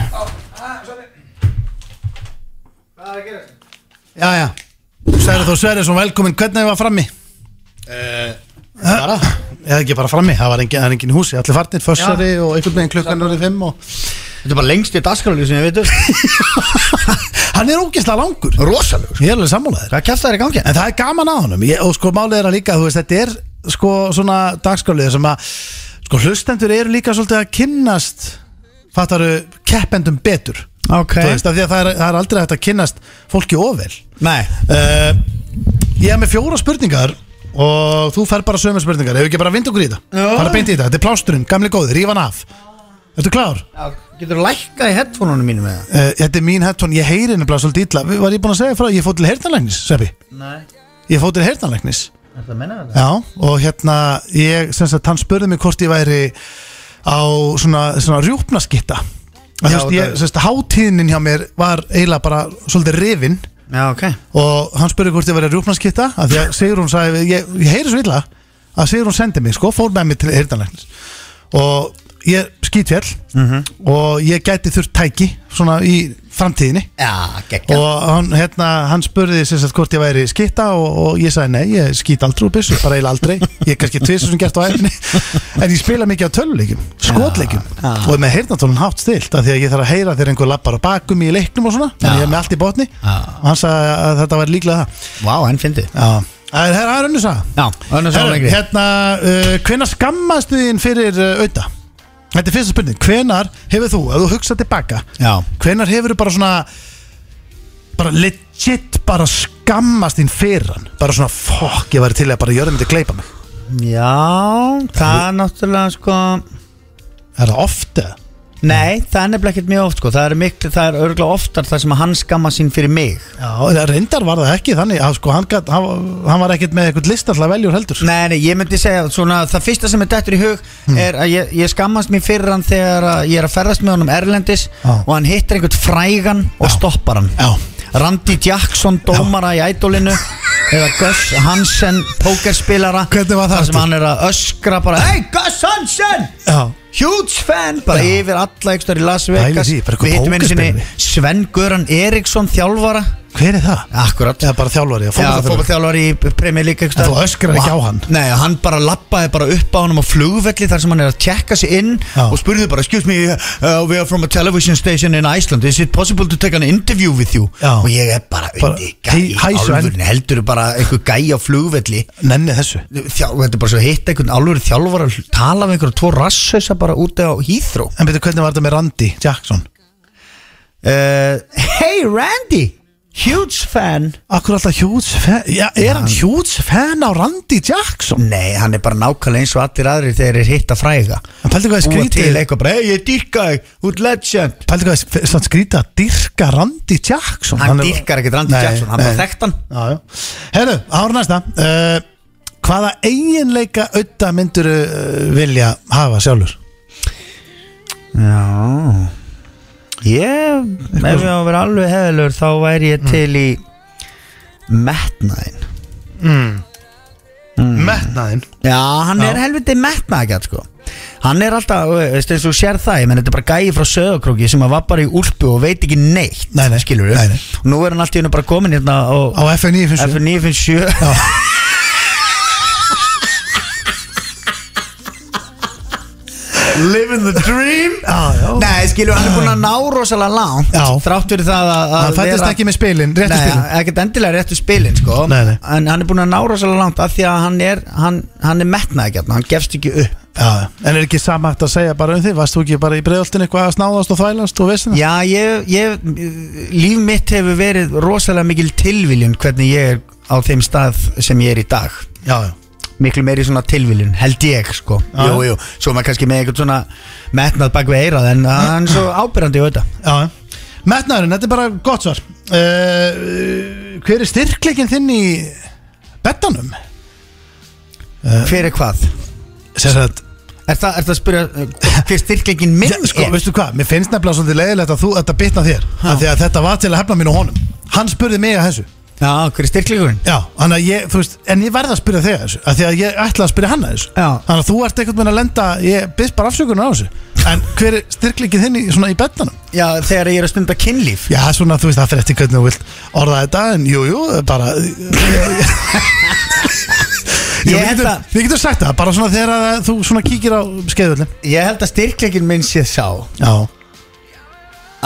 Já, já Særi þú Sverri svo velkomin, hvernig var frammi? Eh, Bara Eða ekki bara frammi, það var engin, það er engin í húsi Allir farnir, fössari og einhvern veginn klukkan orðið fimm og Þetta er bara lengst í daskaralíu sem ég veit um. Hann er ógeðslega langur Rosalegur Ég er alveg sammálaðir Hvað kjæft það er í gangi? En það er gaman á honum ég, Og sko málið er að líka, þú veist, þetta er sko svona dagskrálið sem að sko hlustendur eru líka svolítið að kynnast fattaru keppendum betur Ok Þú veist, af því að það er, það er aldrei hægt að kynnast fólki ofil Nei uh, Ég hef með fjóra spurningar Og þú fer bara sömu spurningar Ef ekki bara vind okkur í þetta Já. Bara beint í þetta, þetta er plásturinn, gamli góði, rífan af Ertu klár? Getur þú lækkað í headphone-unum mínum með Uh, þetta er mín hettón, ég heyri henni bara svolítið illa Var ég búin að segja frá, ég fór til heyrnarlæknis, Sveppi Nei Ég fór til heyrnarlæknis Er það menna þetta? Já, og hérna, ég, sem sagt, hann spurði mig hvort ég væri á svona, svona rjúpnaskitta Þú Já, veist, ég, það- sem sagt, hátíðnin hjá mér var eiginlega bara svolítið rifin Já, ok og hann spurði hvort ég væri rjúpnaskitta af því að Sigrún sagði, ég, ég heyri svo illa að Sigrún sendi mig, sko, fór með mig til heyrðanlæknis og ég skýtfjall Mhm. og ég gæti þurft tæki svona í framtíðinni Já, geggja og hann, hérna, hann spurði sem sagt hvort ég væri skitta og, og ég sagði nei, ég skýt aldrei úr byssu, bara eiginlega aldrei ég er kannski tvisur sem gert á æfni en ég spila mikið á töluleikjum, skotleikjum og er með heyrnatólun hátt stilt af því að ég þarf að heyra þegar einhver lappar á bakum í leiknum og svona, þannig ég er með allt í botni Já. og hann sagði að þetta væri líklega það Vá, henn fyndi Já. það er, það er önnur saga Já, önnur sá Herru, lengri Hérna, uh, hvenar skammastu þín fyrir uh, auða? Þetta er fyrsta spurning Hvenar hefur þú, ef þú hugsa tilbaka Já. Hvenar hefur þú bara svona bara legit bara skammast þín fyrir hann bara svona fokk, ég væri til að bara gjörðum þetta kleipa mig Já, það er náttúrulega sko Er það oft eða? Nei, það er nefnilega ekkert mjög oft sko. það, er miklu, það er örgulega oftar það sem að hann skamma sín fyrir mig Já, það reyndar var það ekki þannig að sko hann, gat, hann, hann var ekkert með eitthvað list alltaf veljur heldur sko. Nei, nei, ég myndi segja að svona, það fyrsta sem er dættur í hug Hmm. er að ég, ég skammast mér fyrir hann þegar að ég er að ferðast með honum Erlendis Já. og hann hittir einhvern frægan og stoppar hann Já. Randy Jackson, dómara í ædolinu eða Gus Hansen, pókerspilara Hvernig var það sem aftur? hann er að öskra bara Hey Gus Hansen! Já. Huge fan, bara Já. yfir alla ykkur í Las Pælið Vegas í því, bara eitthvað Við hittum einu sinni pókerspilari. Sven Göran Eriksson, þjálfara Hver er það? Akkurat Eða bara þjálfari eða Já, fótboltaþjálfari? fótballþjálfari í Premier League En einhvers staðar. þú öskrar ekki Og á hann? Nei, hann bara lappaði bara upp á honum á flugvelli þar sem hann er að tjekka sig inn Já. og spurði bara, excuse me, uh, we are from a television station in Iceland is it possible to take an interview with you? Já. Og ég er bara, Bara, undir "Hey, gæi, hi, Sven." alvörin heldur bara einhver gæi á flugvelli Nenni þessu Þjá, Þetta er bara svo að hitta einhvern alvöru þjálfara tala við einhverja tvo rassausa bara úti á Heathrow En betur hvernig var þetta með Randy Jackson? uh, Hey Randy, huge fan Akkur alltaf hjúts fan Já, er hann hjúts fan á Randy Jackson? Nei, hann er bara nákvæmlega eins og allir aðrir þegar þeir hitta fræga En pældu hvað er búa skrítið- til eitthvað bara, hei ég dyrka þig, út legend Pældu hvað er svona skrítið að dyrka Randy Jackson hann er- dyrkar ekkert Randy Nei, Jackson, hann bara nei. þekkt hann Já, já Herru, ára næsta uh, Hvaða eiginleika auða myndur uh, vilja hafa sjálfur? já ég, ef Mm. ég á að vera alveg heðalur þá væri ég til í metnaðin Mm. Metnaðinn já, hann er helviti metnaðgjart sko hann er alltaf, veistu, eins og þú sér það ég menn þetta er bara gæi frá söðakróki sem að var bara í úlpu og veit ekki neitt Nei, nei. skilur Nei, nei. og nú er hann allt í hennu bara komin hérna og Á FNI finnst þú F957 Living the dream Já, já Nei, skilur, hann er búin að ná rosalega langt Já. Þrátt fyrir það að, að Hann fættist ekki með spilin, réttu Nei, spilin ekkert endilega réttu spilin, sko Nei, nei. En hann er búin að ná rosalega langt Af því að hann er, hann, hann er metnað ekki Hann gefst ekki upp Já, já. en er ekki sama hægt að segja bara um því Varst þú ekki bara í breiðoltin eitthvað að snáðast og þvælast og veist Já, ég, ég, líf mitt hefur verið rosalega mikil tilviljun Hvernig ég er á þeim stað sem ég er í dag já, já miklu meiri svona tilviljun, held ég sko Já. Jú, jú, svo maður kannski með einhvern svona metnað bak við eirað en hann er svo ábyrrandi í auðvitað Já, metnaðurinn, þetta er bara gott svar uh, Hver er styrkleikin þinn í betanum? Fyrir hvað? Sér að Er, það, er það að spyrja uh, hver styrklingin minn Já, sko, er? veistu hvað, mér finnst nefnilega svolítið leiðilegt að þú þetta bitna þér af því að þetta var til að hefna mín og honum hann spurði mig að þessu Já, hver er styrklingurinn? já, þannig að ég, þú veist, en ég verð að spyrja þig að þessu af því að ég ætla að spyrja hann að þessu Já. þannig að þú ert eitthvað með að lenda ég byrst bara afsökunar á þessu en hver er styrkleikið þinn í, svona í betanum? Já, þegar ég er að stunda kynlíf Já, svona, þú veist, það fyrir eftir hvernig þú vilt orða þetta en jú, jú, bara Jú, Ég við held getum, að- við getum sagt það, bara svona þegar að þú svona kíkir á skeiðvöldin Ég held að styrklingin minn sé sá Já,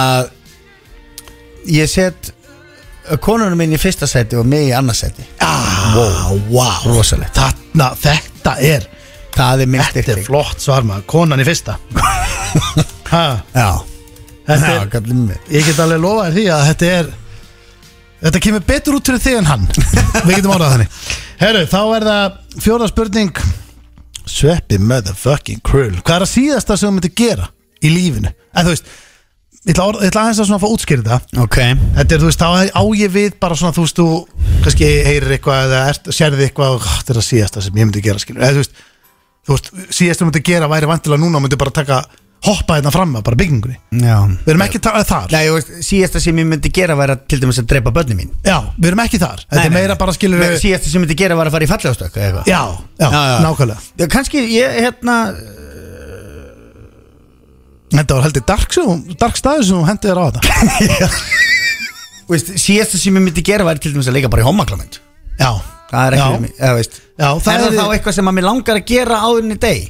að ég set uh, konunum minn í fyrsta seti og mig í annars seti ah, wow, wow. Rosalegt. Þarna, þetta er, Það er minn þetta er styrkling flott svar maður, konan í fyrsta ha, Já, Þetta Já, er- kallinn minn. Ég get alveg lofa þér því að þetta er Þetta kemur betur út fyrir þig en hann Við getum orðað þannig Herru, þá er það fjóra spurning Sveppi motherfucking krull Hvað er að síðasta sem þú myndir gera í lífinu? En þú veist Ég ætla, orð, ég ætla aðeins að svona fá útskýrið það Ok Þetta er, þú veist, þá á ég við bara svona, þú veist, þú kannski heyrir eitthvað eða ert, sérði eitthvað og "Ah, þetta er að síðasta sem ég myndi gera, skilur, eða þú veist, þú veist, síðasta sem myndi gera væri vantilega núna og myndi bara taka, hoppa hérna fram að bara byggingunni. Já Við erum ekki ta- þar. Nei, og síðasta sem ég myndi gera var að til dæmis að dreipa börni mín Já, við erum ekki þar. Þetta Nei, er nei, meira nei. bara, skilur, Nei, Síðasta sem ég myndi gera var að fara í fallegastök eða eitthvað já, já, nákvæmlega. Já, Kannski, ég, hérna Þetta var heldur dark, sem- dark staður sem hún hendi þér á þetta. þú veist, Síðasta sem ég myndi gera var til dæmis að leika bara í homaklament Já, Það er Já. ekki, eða veist já, Það er það þá eitthvað sem að mér langar að gera áðurinn í deg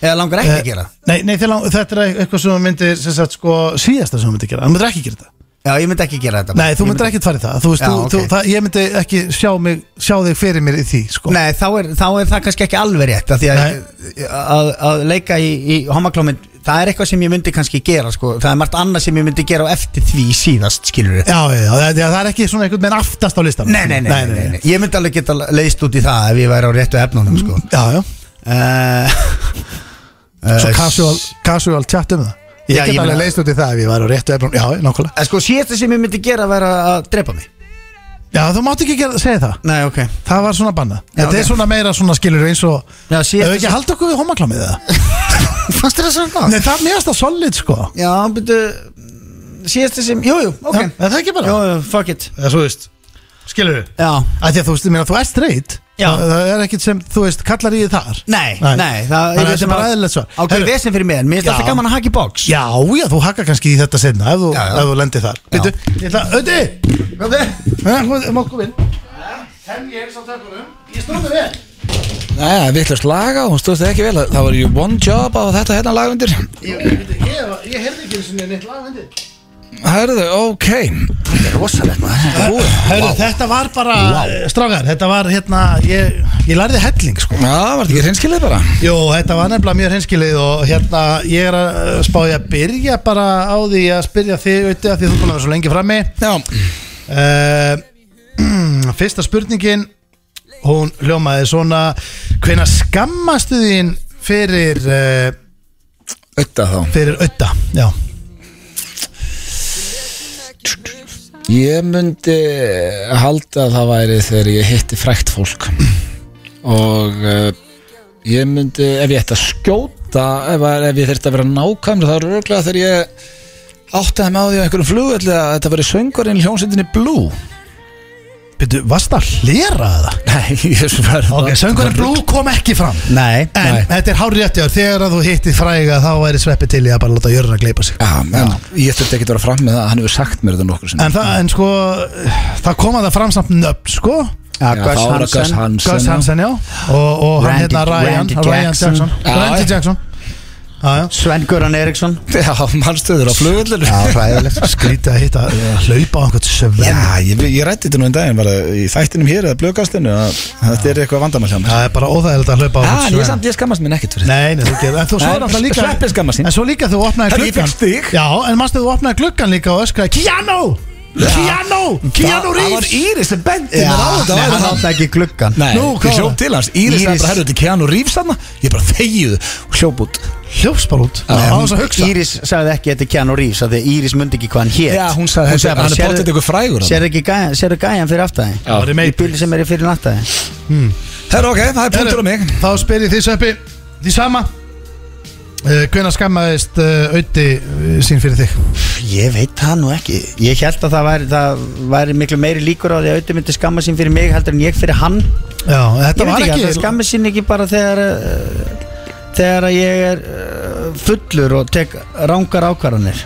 Eða langar ekki að gera Eh, Nei, nei þegar, þetta er eitthvað sem hún myndi, sem sagt, sko, síðasta sem hún myndi gera. Hún myndi ekki gera þetta. Já, ég myndi ekki gera þetta Nei, þú Ég myndir ekkert fara í það, þú veist, Já, þú, ok. þú, það Ég myndi ekki sjá, mig, sjá þig fyrir mér í því sko. Nei, þá er, þá er það kannski ekki alveg rétt af Því að, að, að leika í, í homaklómynd Það er eitthvað sem ég myndi kannski gera sko. Það er margt annað sem ég myndi gera á eftir því síðast Skilur við Já, já, já, það- það er ekki svona einhvern veginn aftast á listan nei nei nei, nei, nei, nei, Ég myndi alveg geta leiðst út í það Ef ég væri á réttu efnunum sko. Já, já, uh, svo casual, casual chat um það Ég Eh, Já, get ég alveg meina- leist út í það ef ég væri á réttu efnum Já, já, nákvæmlega Sko, síðasta sem ég myndi gera var að drepa mig Já, þú mátt ekki gera, segja það Nei, ok Það var svona bannað Já, Þetta ok. er svona meira svona skilur eins og Hefur Já, við síðasta ekki að halda okkur við homaklamið það? Fannst þér það svona gott? Nei, það er mjögast að solid sko Já, Já, byrju Síðasta sem, jú, jú, ok er það ekki bara Jú, jú, fuck it Það er svo veist Skilur við Já Því að þú veist, ég meina, þú ert straight Já. Það það er ekkit sem, þú veist, kallar í þig þar Nei, Nei. nei, það Þannig að þetta er bara eðlilegt svar. Ákveð Heyrðu. vesen fyrir mig, en mér finnst Já. alltaf gaman að haka í box Já, já, þú hakka kannski í þetta senna ef þú, Já, já. Ef þú lendir þar Býttu, ég ætla, auði Hvað er Má má koma inn Henn ég er sá tökunum Ég stóðu vel Nei, vittlust laga, hún stóðst ekki vel Það var ju one job á þetta hérna lagundir Ég, ég, ég, ég heyrði ekki eins og neitt lagvendir Herðu, ok rosalegt maður Búið. Hörru, þetta var bara wow. Strágar, þetta var hérna Ég, ég lærði helling sko Já, var þetta ekki hreinskilið bara Jó, þetta var nefnilega mjög hinskilið og hérna ég er að eh, spá ég að byrja bara á því að spyrja þig auðvitað því þú búin að vera svo lengi frammi Já, uh, Fyrsta spurningin Hún hljómaði svona Hvena skammastu þín Fyrir uh, auðvitað þá Fyrir ötta Já, Ég myndi halda að það væri þegar ég hitti frækt fólk og uh, ég myndi, ef ég ætti að skjóta ef, að- ef ég þyrfti að vera nákvæmri þá er örglega þegar ég áttaði með á því á einhverjum flugvelli að þetta veri söngurinn hljómsveitinni Blue byrju, varst að hlera það? Nei, ég sver það. Ok, söngurinn Blue kom ekki fram Nei, En Nei. þetta er hár réttjár, þegar að þú hitti fræga þá væri sveppi til í að bara láta jörna gleipa sig Já, en ég þurfti ekki að vera fram með það hann hefur sagt mér þetta nokkur sinni En, það, en sko, það kom að það fram samt nöfn sko ja, Já, þá er það Gus Hansen Gus Hansen, já Og, og hann Randy- hérna Ryan, Randy Ryan Jackson. Jackson Já, Randy já. Jackson Já, já Sven Göran Eriksson Já, mannstöður á flugvellinu hræðilegt Skrítið að hitta, hlaupa á einhvern svenn Já, ég, ég rætti þetta nú einn daginn bara í þættinum hér eða blöðkastinu að þetta er eitthvað vandamál hjá mér Það er bara óþægilegt að hlaupa á Já, en Ah, ég einhvern samt, svenn ég skammast minn ekkert fyrir Nei, nei, þú getur, en þú svo Nei, er alltaf líka Sveppi skammast sín. En svo líka þú opnaði Herra, ég gluggan fékk stig. Já, en manstu þú opnaði gluggan líka og öskraði Keanu! Keanu! Keanu Það var Reeves! Íris sem bendi Já, mér á þetta nei, væri hann það. átti ekki gluggan Nei, Nú, hvað ég var hljóp það? til hans Íris er Íris- bara, herru, þetta er Keanu Reeves þarna Ég bara þegið og hljóp út Hljóps bara út Já, Á hún- þess að hugsa Íris sagði ekki þetta er Keanu Reeves af Því að Íris myndi ekki hvað hann hét Já, hún sagði, þetta bara, hann er "Sérðu- pottet ykkur frægur Sérðu ekki gæjan, sérðu gæjan fyrir aftæði Það var í Í Matrix. bíli sem er í fyrir nattæði Herru, ok, það er punktur á mig Þá spyr ég því sveppi Því sama uh, Hvenær skammaðist uh, auði uh, sín fyrir þig? Ég veit það nú ekki Ég held að það væri, það væri miklu meiri líkur á því að auðvitað myndi skamma sín fyrir mig heldur en ég fyrir hann Já, þetta Ég veit var ekki, ekki það skammi sín ekki bara þegar uh, þegar að ég er uh, fullur og tek Eh. rángar ákvarðanir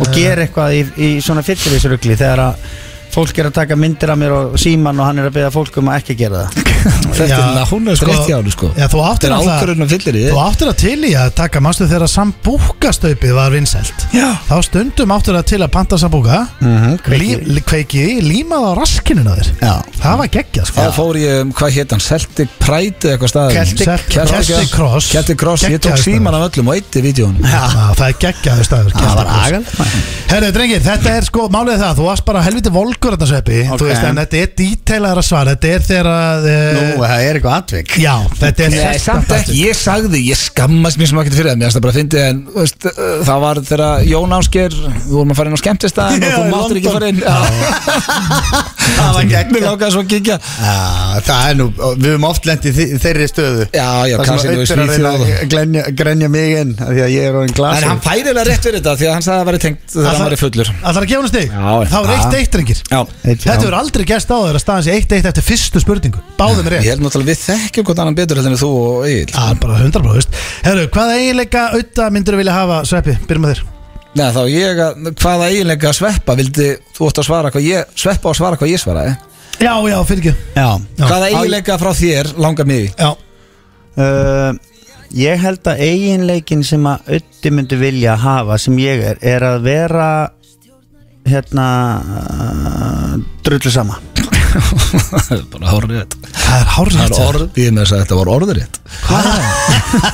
og ger eitthvað í, í svona fyrirvísrugli þegar að fólk er að taka myndir af mér og síman og hann er að beða fólk um að ekki gera það Þetta er Já, hún er sko rétt hjá henni sko Já, þú Þetta áttir er náttúrulega- ákvörðun um og fyllir í Þú áttir að til í að taka Manstu þegar sambúkastaupið var vinsælt Já. Þá stundum áttir að til að panta sambúka Mhm, kveikið. Lí- lí- Kveikið í, límað á raskinu á þér Já. Það var geggjað sko Þá fór ég, um, hvað hétt hann, Celtic Pride eða eitthvað staðar Celtic- Celtic Cross. Celtic Cross, ég tók Geggjaður síman af öllum og eitti vídjónum Já, Hérna, það er geggjaður staður Það var geggjaður. agal Herru, drengir, þetta er sko, málið er það Þú varst bara helviti volkur þetta sveppi Ok. Þú veist, en þetta er dítælar að svara Þetta er þegar að Nú, eh, það er eitthvað atvik Já, þetta er Nei, samt ekki, ég sagði, ég skammast mér sem ekkert fyrir það, mér finnst það bara að fyndi en þú veist, uh, það var þegar Jón Ásker við vorum að fara inn á skemmtistæðin og Já, í þú máttir ekki London. fara inn Já, Það var gegn mér lákaði svo að kíkja Já, það er nú, og við höfum oft lent í þi- þeirri stöðu Já, já, Það kannski sem þú veist auðvitað er að reyna Svíþjóð að glenja, grenja mig inn af Því að ég er orðin En hann glasur færilega rétt fyrir þetta því að hann sagði að það væri tengt þegar hann væri fullur Það er að gefa hann stig Já, Þá er já. eitt eitt, drengir Já, Eitt- Þetta já. verður aldrei gæst á þér að staðan sé eitt eitt eftir fyrstu spurningu Báðum ég er rétt held náttúrulega við þekkjum hvort annan betur heldur en þú og Egil Það er bara 100 brá, veist Herru, hvaða eiginleika auða myndir vilja hafa, Sveppi? Byrjum að þér Nei, þá ég að, hvaða eiginlega sveppa vildi, þú ótt að svara hvað ég sveppa og svara hvað ég svaraði Já, já, fyrir ekki Já Já. Hvaða Á, eiginlega frá þér langar mig í? Já, Uh, Ég held að eiginleikin sem að Ötti myndi vilja hafa sem ég er er að vera hérna uh, drullu sama bara horrið þetta það er hárið Það er orð, ég með þess að þetta var orðurétt Ah.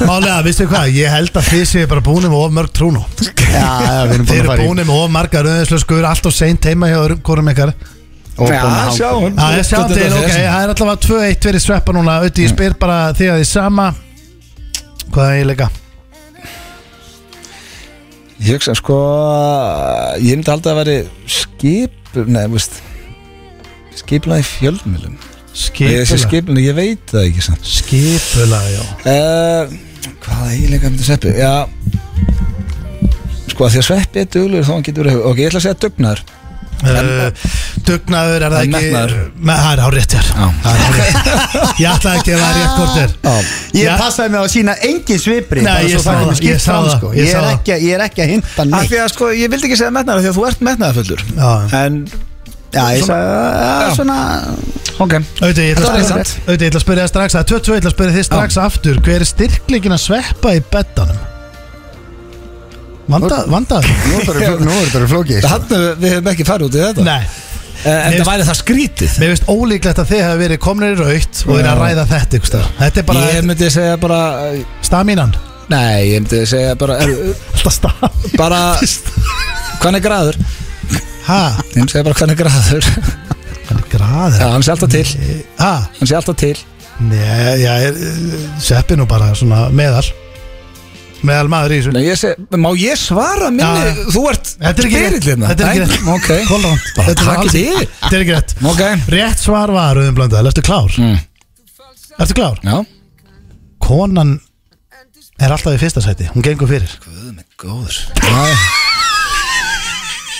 Málega, veistu hvað, ég held að þið séu bara búinum og of mörg trúnó Já, við erum Þið eru í búinum og of margar öðinslöskur Allt og seint heima hjá öðrum hvorum ykkar og búin að hanga hún Já, ég sjá til, ok, það er allavega 2-1 verið sveppa núna Ötti, ég spyr bara því að þið sama Hvaða eiginleika? Ég hugsa sko Ég myndi aldrei að veri skip Nei, veist Skipla í fjölmjölum Þessi Skipula skipla, ég veit það ekki sann Skipula, já uh, Hvaða eiginlega myndi sveppi? Já Sko, af því að sveppi er duglur þá hann getur verið Ok, ég ætla að segja dugnar Uh, Dugnaður er En það ekki metnaður. Me- Það er á rétt hér Já. Það er hárrétt. Ég ætlaði ekki að það er rétt hvort er Ég Já. passaði mig á að sína engin svipri Nei, bara ég svo sá kemur það, skýrt ég sá fram, það, sko. ég ég, sá er það. ekki, ég er ekki að hinta Af neitt því að sko, ég vildi ekki segja metnar Því að þú ert metnaðafullur Já. En, Já, ég svona- sagði Já. að svona ok Auðvitað, Þetta ég ætla var að rétt spyrja- samt. Auðvitað, ég ætla að spyrja það strax Það er 22, ég ætla að spyrja þið strax aftur Hver er styrkleikin að sveppa í beddanum? Vanda, vandaður Nú er bara- nú er bara flókið sko. Þannig við hefum ekki farið út í þetta Nei, Eh, En Nei, það væri það skrítið mér finnst ólíklegt að þið hefur verið komnir í raukt og er að ræða þetta ykkur stað Þetta er Ég bara myndi segja bara stamínan Nei, ég myndi segja bara er, Alltaf stamínan Bara Hvernig graður? Ha, Ég myndi segja bara hvernig graður hann er Já, graður hann sé alltaf til Ha, Hann sé alltaf til Nei, já, er, sveppi nú bara svona meðal meðal maður í þessu Nei, ég seg, Má ég svara minni? Já. Þú ert Þetta er ekki rétt. spyrillina Þetta er ekki rétt. Ok Kolrand Bara takk í því. Þetta er ekki rétt Ok Rétt svar var auðvitað blöndað Ertu klár? Mm. Ertu klár? Já Konan er alltaf í fyrsta sæti Hún gengur fyrir Guð með góður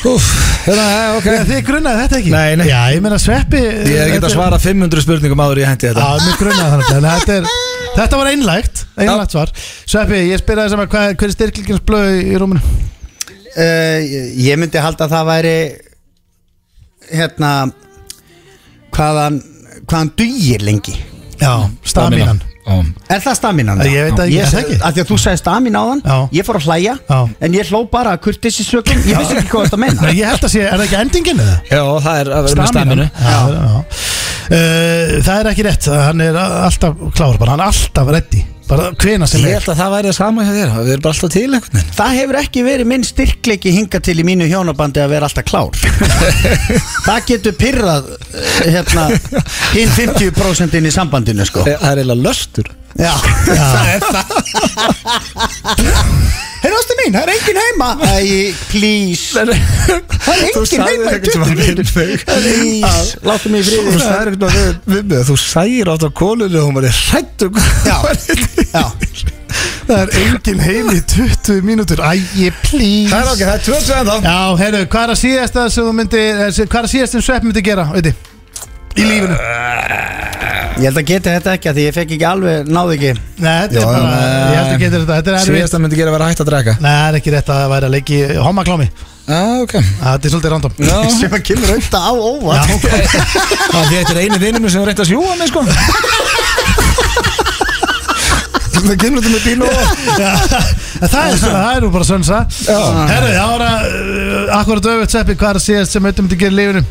Úf, hérna, já, ok Þegar þið grunnaði þetta ekki? Nei, nei. Já, ég meina sveppi Ég er ekki að svara 500 spurningum áður ég hendi Já, þetta mér grunnaði þannig En þetta er Þetta var einlægt, einlægt svar Sveppi, ég spyrir þess að hvað, hver er styrkilgjans blöð í rúminu? Eh, ég- Ég myndi halda að það væri hérna hvaðan hvaðan dugir lengi Já, stamínan Stamínan. Er það staminan? Ég veit það ekki, er það ekki? Því að þú sagði stamin á þann Já. Ég fór að hlæja Já. En ég hló bara að kurtissi sökum Ég vissi ekki hvað þetta meina Nei, ég held að sé, er það ekki endingin eða? Já, það er að vera með Stamínan. staminu Já, já. Uh, Það er ekki rétt, hann er alltaf klár bara, hann er alltaf reddi bara hvena sem Ég er held að það væri það sama hjá þér Við erum bara alltaf til einhvern veginn Það hefur ekki verið minn styrkleiki hinga til í mínu hjónabandi að vera alltaf klár Það getur pyrrað eh, hérna, hinn 50% inn í sambandinu sko Það er eiginlega löstur Já, það er það Herra ástu mín, það er engin heima Æ, please Það er Þú engin sagðir heima í ekkert sem 20 að vinna þau. Please, láttu mig í Þú friði sagðir ekkert að við- við mig að Þú sægir átt á kólunni og hún um var hrættu Já. Já, Það er engin heim í 20 mínútur Æi, please Það er ok, það er 22 en þá Já, heyrðu, hvað er að síðasta sem þú myndi eh, sem- Hvað er að síðasta sem Svepp myndi gera, veitir? Í lífinu Nei, Ég held að geta þetta ekki að því ég fekk ekki alveg, náði ekki þetta er bara, nei. ég held að getur þetta Þetta er erfitt Síðasta myndi gera að vera hægt að draka Nei, það er ekki rétt að það væri að leiki homaklámi ah, ok Þetta er svolítið random Já. sem að kemur auðvitað á óvart Já, ok. Það er því að þetta er einu vinnum sem reyndi að sjúa mig sko Það kemur þetta með bíl og Já, en það er, það er nú bara sönsa Herru, þá er að uh, Akkurat öfut seppi, hvað er að síðast sem auðvitað myndi gera í lífinu?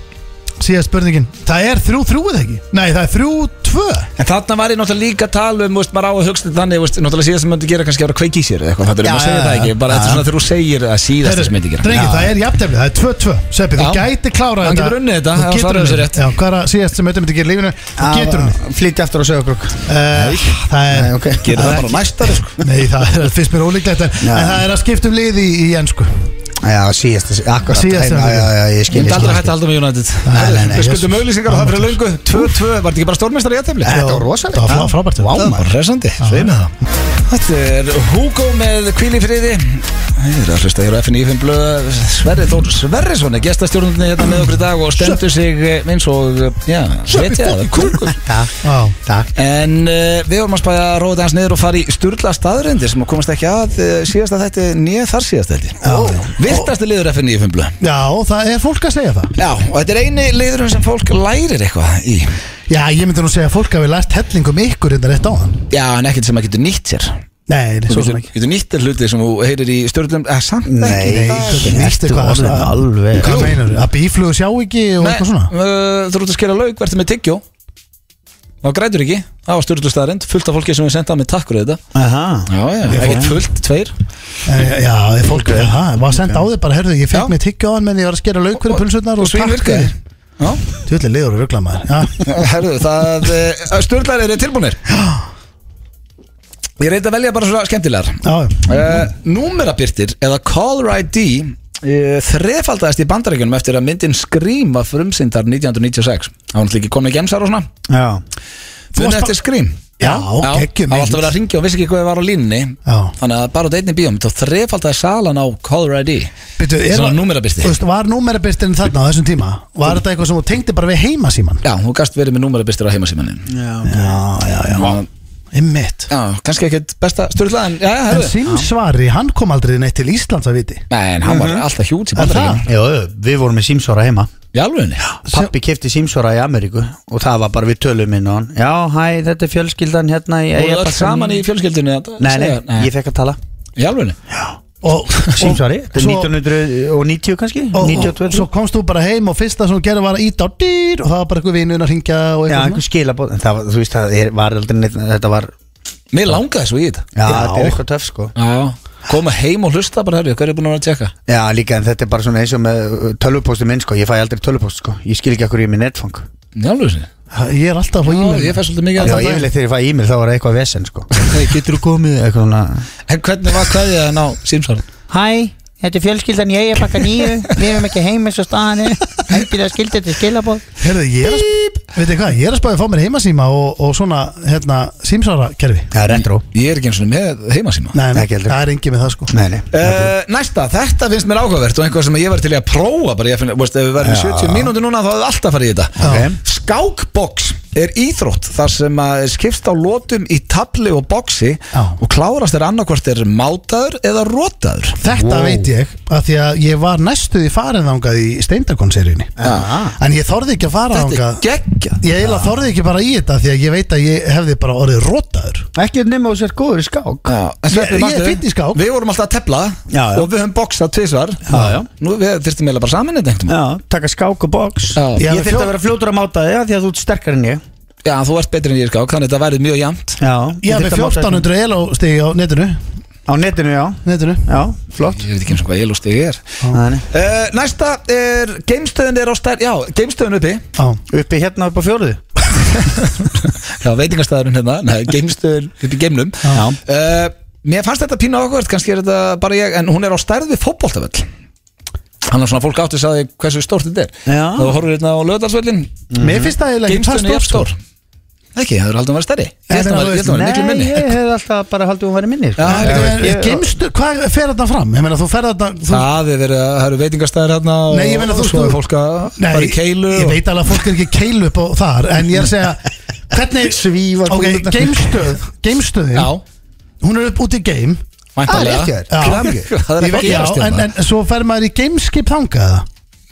Síðast spurningin Það er þrjú þrjú eða ekki? Nei, það er þrjú tvö En þarna var ég náttúrulega líka að tala um, veist, maður á að hugsa þetta þannig, veist, náttúrulega síðast sem myndi gera kannski að vera að kveiki í sér eða eitthvað, þetta er um Já, að segja já, það ekki, já. bara þetta er svona þegar þú segir að síðast Herru, sem myndi gera. Drengi, það er jafntefni, það er tvö tvö Seppi, þú Já. gæti klárað Hann getur unnið þetta, ef Þú hann svarar getur þessu unnið rétt. þetta Já, hvað er að síðast sem auðvitað myndi gera í lífinu? Þú getur unnið Flytja aftur á sögurkrok Eh, Það Nei, er ok Gerir það bara næsta, sko. Nei, það er- finnst mér ólíklegt en, Já. en það er að skipta um liði í, í ennsku Já, síðast Akkurat Síðasta Já, já, já, ég Ég skil myndi ég aldrei skil. hægt að halda með United. Nei, nei, nei, Við Jesus. skuldum auðlýsingar og það fyrir löngu, 2-2, var þetta ekki bara stórmestari í aðtefli? Þetta var rosalegt. Það var frábært Vá, Það Það var resandi. Sveinu það Þetta er Hugo með Kvíli friði. Ég er að hlusta hér á FNÍFN blöð. Sverri Þór Sverrisson er gestastjórnundinni hérna með okkur í dag og stendur sig eh, eins og, eh, já, hetja, kúkur. Takk, Já. takk En uh, við vorum að spæja að róða hans niður og fara í sturla staðrindir sem að komast ekki að uh, síðasta þetta nýja þar síðasta þetta Viltasti liður FNI fimmlu Já, það er fólk að segja það Já, og þetta er eini liðurinn sem fólk lærir eitthvað í Já, ég myndi nú segja að fólk hafi lært hellingum ykkur hérna rétt á hann Já, en ekkert sem að getur nýtt sér Nei, Þú svo sem getur, ekki getur nýtt þér hluti sem þú heyrir í störlum eh, Samt ekki Nei, Það- Þú ertu eitthvað orðin að- alveg Hvað meinar Að bíflugur sjá ekki og Nei, eitthvað svona uh, þú ert að skera lauk, verður með tyggjó Það grætur ekki, það var störlu staðrind Fullt af fólki sem við sendað með takkur þetta Aha Já, já, ekkert fullt, tveir En, Eh, Já, ef fólk ha, var senda á þig bara Herðu, ég Já. fekk mér tyggja á hann menn ég var að skera lauk fyrir pulsutnar og svín virkaði Já Tjöldlega liður og ruggla maður Já, Herðu, það eh, uh, Sturlar eru tilbúinir Ég reyndi að velja bara svona skemmtilegar já uh, Númerabirtir eða Caller ID uh, þrefaldaðist í bandaríkjunum eftir að myndin Scream var frumsyndar 1996 Það var náttúrulega ekki komið gemsar og svona Já Muna varst eftir Scream Já, það geggjum var alltaf verið að ringja og vissi ekki hvað það var á línni Já. Þannig að bara út einni bíóm þá þrefaldaði salan á Caller ID Býtu, er Svona það- númerabirti Þú veist, var númerabirtin þarna á þessum tíma? Var þetta eitthvað sem þú tengdi bara við heimasíman? Já, þú gast verið með númerabirtir á heimasímanin Já, já, já Einmitt Já, kannski ekkert besta styrla en, já, já, En herðu. símsvari, hann kom aldrei neitt til Íslands að viti Nei, en hann var alltaf hjút í Er bandaríkjum það? Jó, við vorum með símsvara heima Í alvegni? Pappi kefti símsvara í Ameríku Og það var bara við tölum inn á hann Já, hæ, þetta er fjölskyldan hérna í Og öll Eyjabakkanum. saman í fjölskyldinu að Nei, nei, segja- ég fekk að tala Í alvegni? Og Símsvari, þetta svo- er 1990 kannski og, 92 og svo komst þú bara heim og fyrsta sem þú gerði var að íta á dýr og það var bara eitthvað vinun að ringja og Já, eitthvað einhver skilabóð En það var, þú veist, það er, var aldrei neitt Þetta var, Mér langaði svo í þetta já, þetta er eitthvað töff sko Já Koma heim og hlusta bara, herri, hvað er ég búin að vera að tjekka? Já, líka, en þetta er bara svona eins og með uh, tölvupósti minn sko Ég fæ aldrei tölvupóst sko Ég skil ekki akkur ég er með netfang Í alvegni? svona. ég er alltaf á Já, e-mail ég fæ svolítið mikið Já, að ég vil þegar ég fæ e-mail þá var það eitthvað vesen sko Hei, getur þú komið eitthvað svona En hvernig var hvað ég að ná símsvaran? Hæ, þetta er fjölskyldan í Eyjabakka nýju Við erum ekki heim eins og staðan er Engilega skildir til skilabóð Herðu, ég er að veit þið hvað, ég er að spáði að fá mér heimasíma og, og svona, hérna, símsvara kerfi Já, retro Ég er ekki eins og með heimasíma Nei, nei, Ekki heldur. það er engin með það sko Nei, nei Uh, næsta, þetta finnst mér áhugavert og einhvað sem ég var til í að prófa bara ég finn, veist, ef við verðum í 70 mínúti núna þá hefði alltaf farið í þetta Ok. Skákboks er íþrótt þar sem að er skipst á lótum í tabli og boksi Já. og klárast er annarkvort er mátaður eða rótaður Þetta Wow. veit ég að því að ég var næstuð í farinðangað í steindarkonseríunni Já, En ég þorði ekki að fara Þetta þangað er geggjað Ég eiginlega þorði ekki bara í þetta því að ég veit að ég hefði bara orðið rótaður ekki nema þú sér góður í skák Já, en Sveppi, Ég- ég manstu, er fínn í skák. Við vorum alltaf að tefla Já, já. og við höfum boksað tvisvar Já, já. Nú við þyrstum eiginlega bara saman þetta einhvern Já, taka skák og box Já. Ég, Já, við ég þurfti fjó- að vera fljótur að máta þig af Því að þú ert sterkar en ég veginn Já, þú ert betri en ég er skák þannig að þetta værið mjög jæmt Já, Ég þyrfti hafði að máta þig. 1400 eló stegi á netinu, Á netinu, já, netinu. já, flott Ég veit ekki eins og hvað ég lúst ég er Nei, nei. uh, Næsta er geimstöðin er á stær Já, geimstöðin uppi Á. Uppi hérna upp á fjóruðu Já, veitingastæðurinn hérna Nei, geimstöðin uppi í geimnum Já. uh, Mér fannst þetta pínu ákvært kannski er þetta bara ég en hún er á stærð við fótboltavöll Þannig að svona fólk átti sagði hversu stórt þetta er Já. Þú horfður hérna á lögdalsvöllin Mér finnst það eiginlega ekki sko. Geimstöðin er það stór Ekki, það er aldrei að vera stærri Ég held að þú vera- ég held að vera miklu minni ég hef alltaf bara haldið hún væri minni sko. Já, En, Já, en, ég- Geimstu, hvað fer þetta fram? Ég meina þú fer þetta þú, Það er verið að það eru veitingastæðir hérna og Nei, ég meina, þú og svo veist, er þú- fólk að fara í keilu Ég veit alveg að fólk er ekki keilu upp á þar En ég er að segja Hvernig Svífa Ok, kúlurnar. geimstöð Geimstöðin Já, Hún er upp út í geim Ah, Það er rétt Væntanlega. hjá þér, til hamingju. Hvað er að Ég veit- já, gerast en, hérna? en svo fer maður í gameskip þangað eða?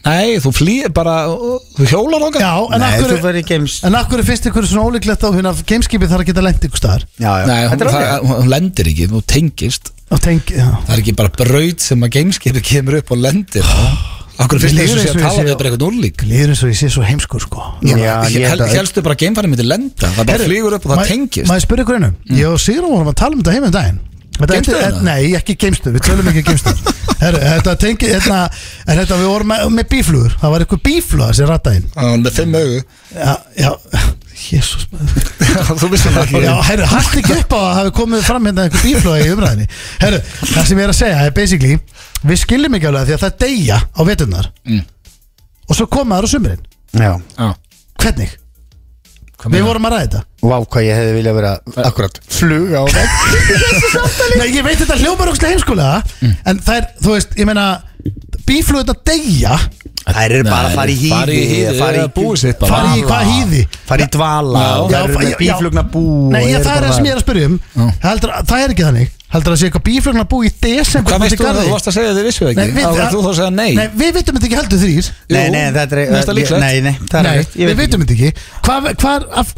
Nei, þú flýr bara, þú hjólar okkar Já, en Nei, þú akkur verður í games En akkur er fyrst ykkur svona ólíklegt á hérna gameskipið þarf að geta lent ykkur staðar Já, já, Nei, hún, þetta er það, alveg hún lendir ekki, þú tengist og tengi, já Það er ekki bara braut sem að gameskipi kemur upp og lendir Akkur finnst Mér þessu líður sé eins og að ég tala sé- við bara eitthvað úrlík Líður eins og ég sé svo heimskur sko Já, ég held að- Helstu bara að geimfæri myndi lenda Það bara flýgur upp og það Má- tengist Mm. Má ég spyrja ykkur einu? Ég og Sigrún vorum að tala um þetta heima um daginn Þetta Geimstöðina? endi- eh, Nei, ekki geimstu, við tölum ekki geimstu Herru, þetta tengi, hérna Er þetta við vorum með, með bíflugur Það var eitthvað bífluga sem rattaðinn Já, Með fimm augu Já, já, jésús Þú veist það ekki Já, herru, haldi ekki upp á að hafi komið fram hérna einhver bíflóði í umræðinni Herru, það sem ég er að segja er basically Við skiljum ekki alveg að því að það deyja á veturnar Mm. Og svo koma þar á sumurinn Já, Já, Hvernig? Ah, hvað Við meina? vorum að ræða þetta vá hvað ég hefði viljað vera Akkurat, flug á vegg Nei, ég veit þetta hljómar ógstlega heimskulega Mm. En það er, þú veist, ég meina Bíflóðin að deyja Það eru bara að fara í hýði Fara í hýði, fara í búi sitt bara Fari í hvað hýði Fara í dvala Já. Það eru Já, með já. bíflugna bú Nei, ég, það er það sem ég er að spyrja um heldur, að- Það er ekki þannig Heldur að sé eitthvað bíflóðin að búi í desember Hvað út í veist þú, garði? þú varst að segja þið vissu Nei, ekki við- Þá var þú þá að segja nei Nei, við vitum þetta ekki heldur þrýr Nei, Jú, nei, þetta er mesta líklegt. Nei, nei, það er Nei, rétt, við ég veit ekki. veitum þetta ekki Hvað hva,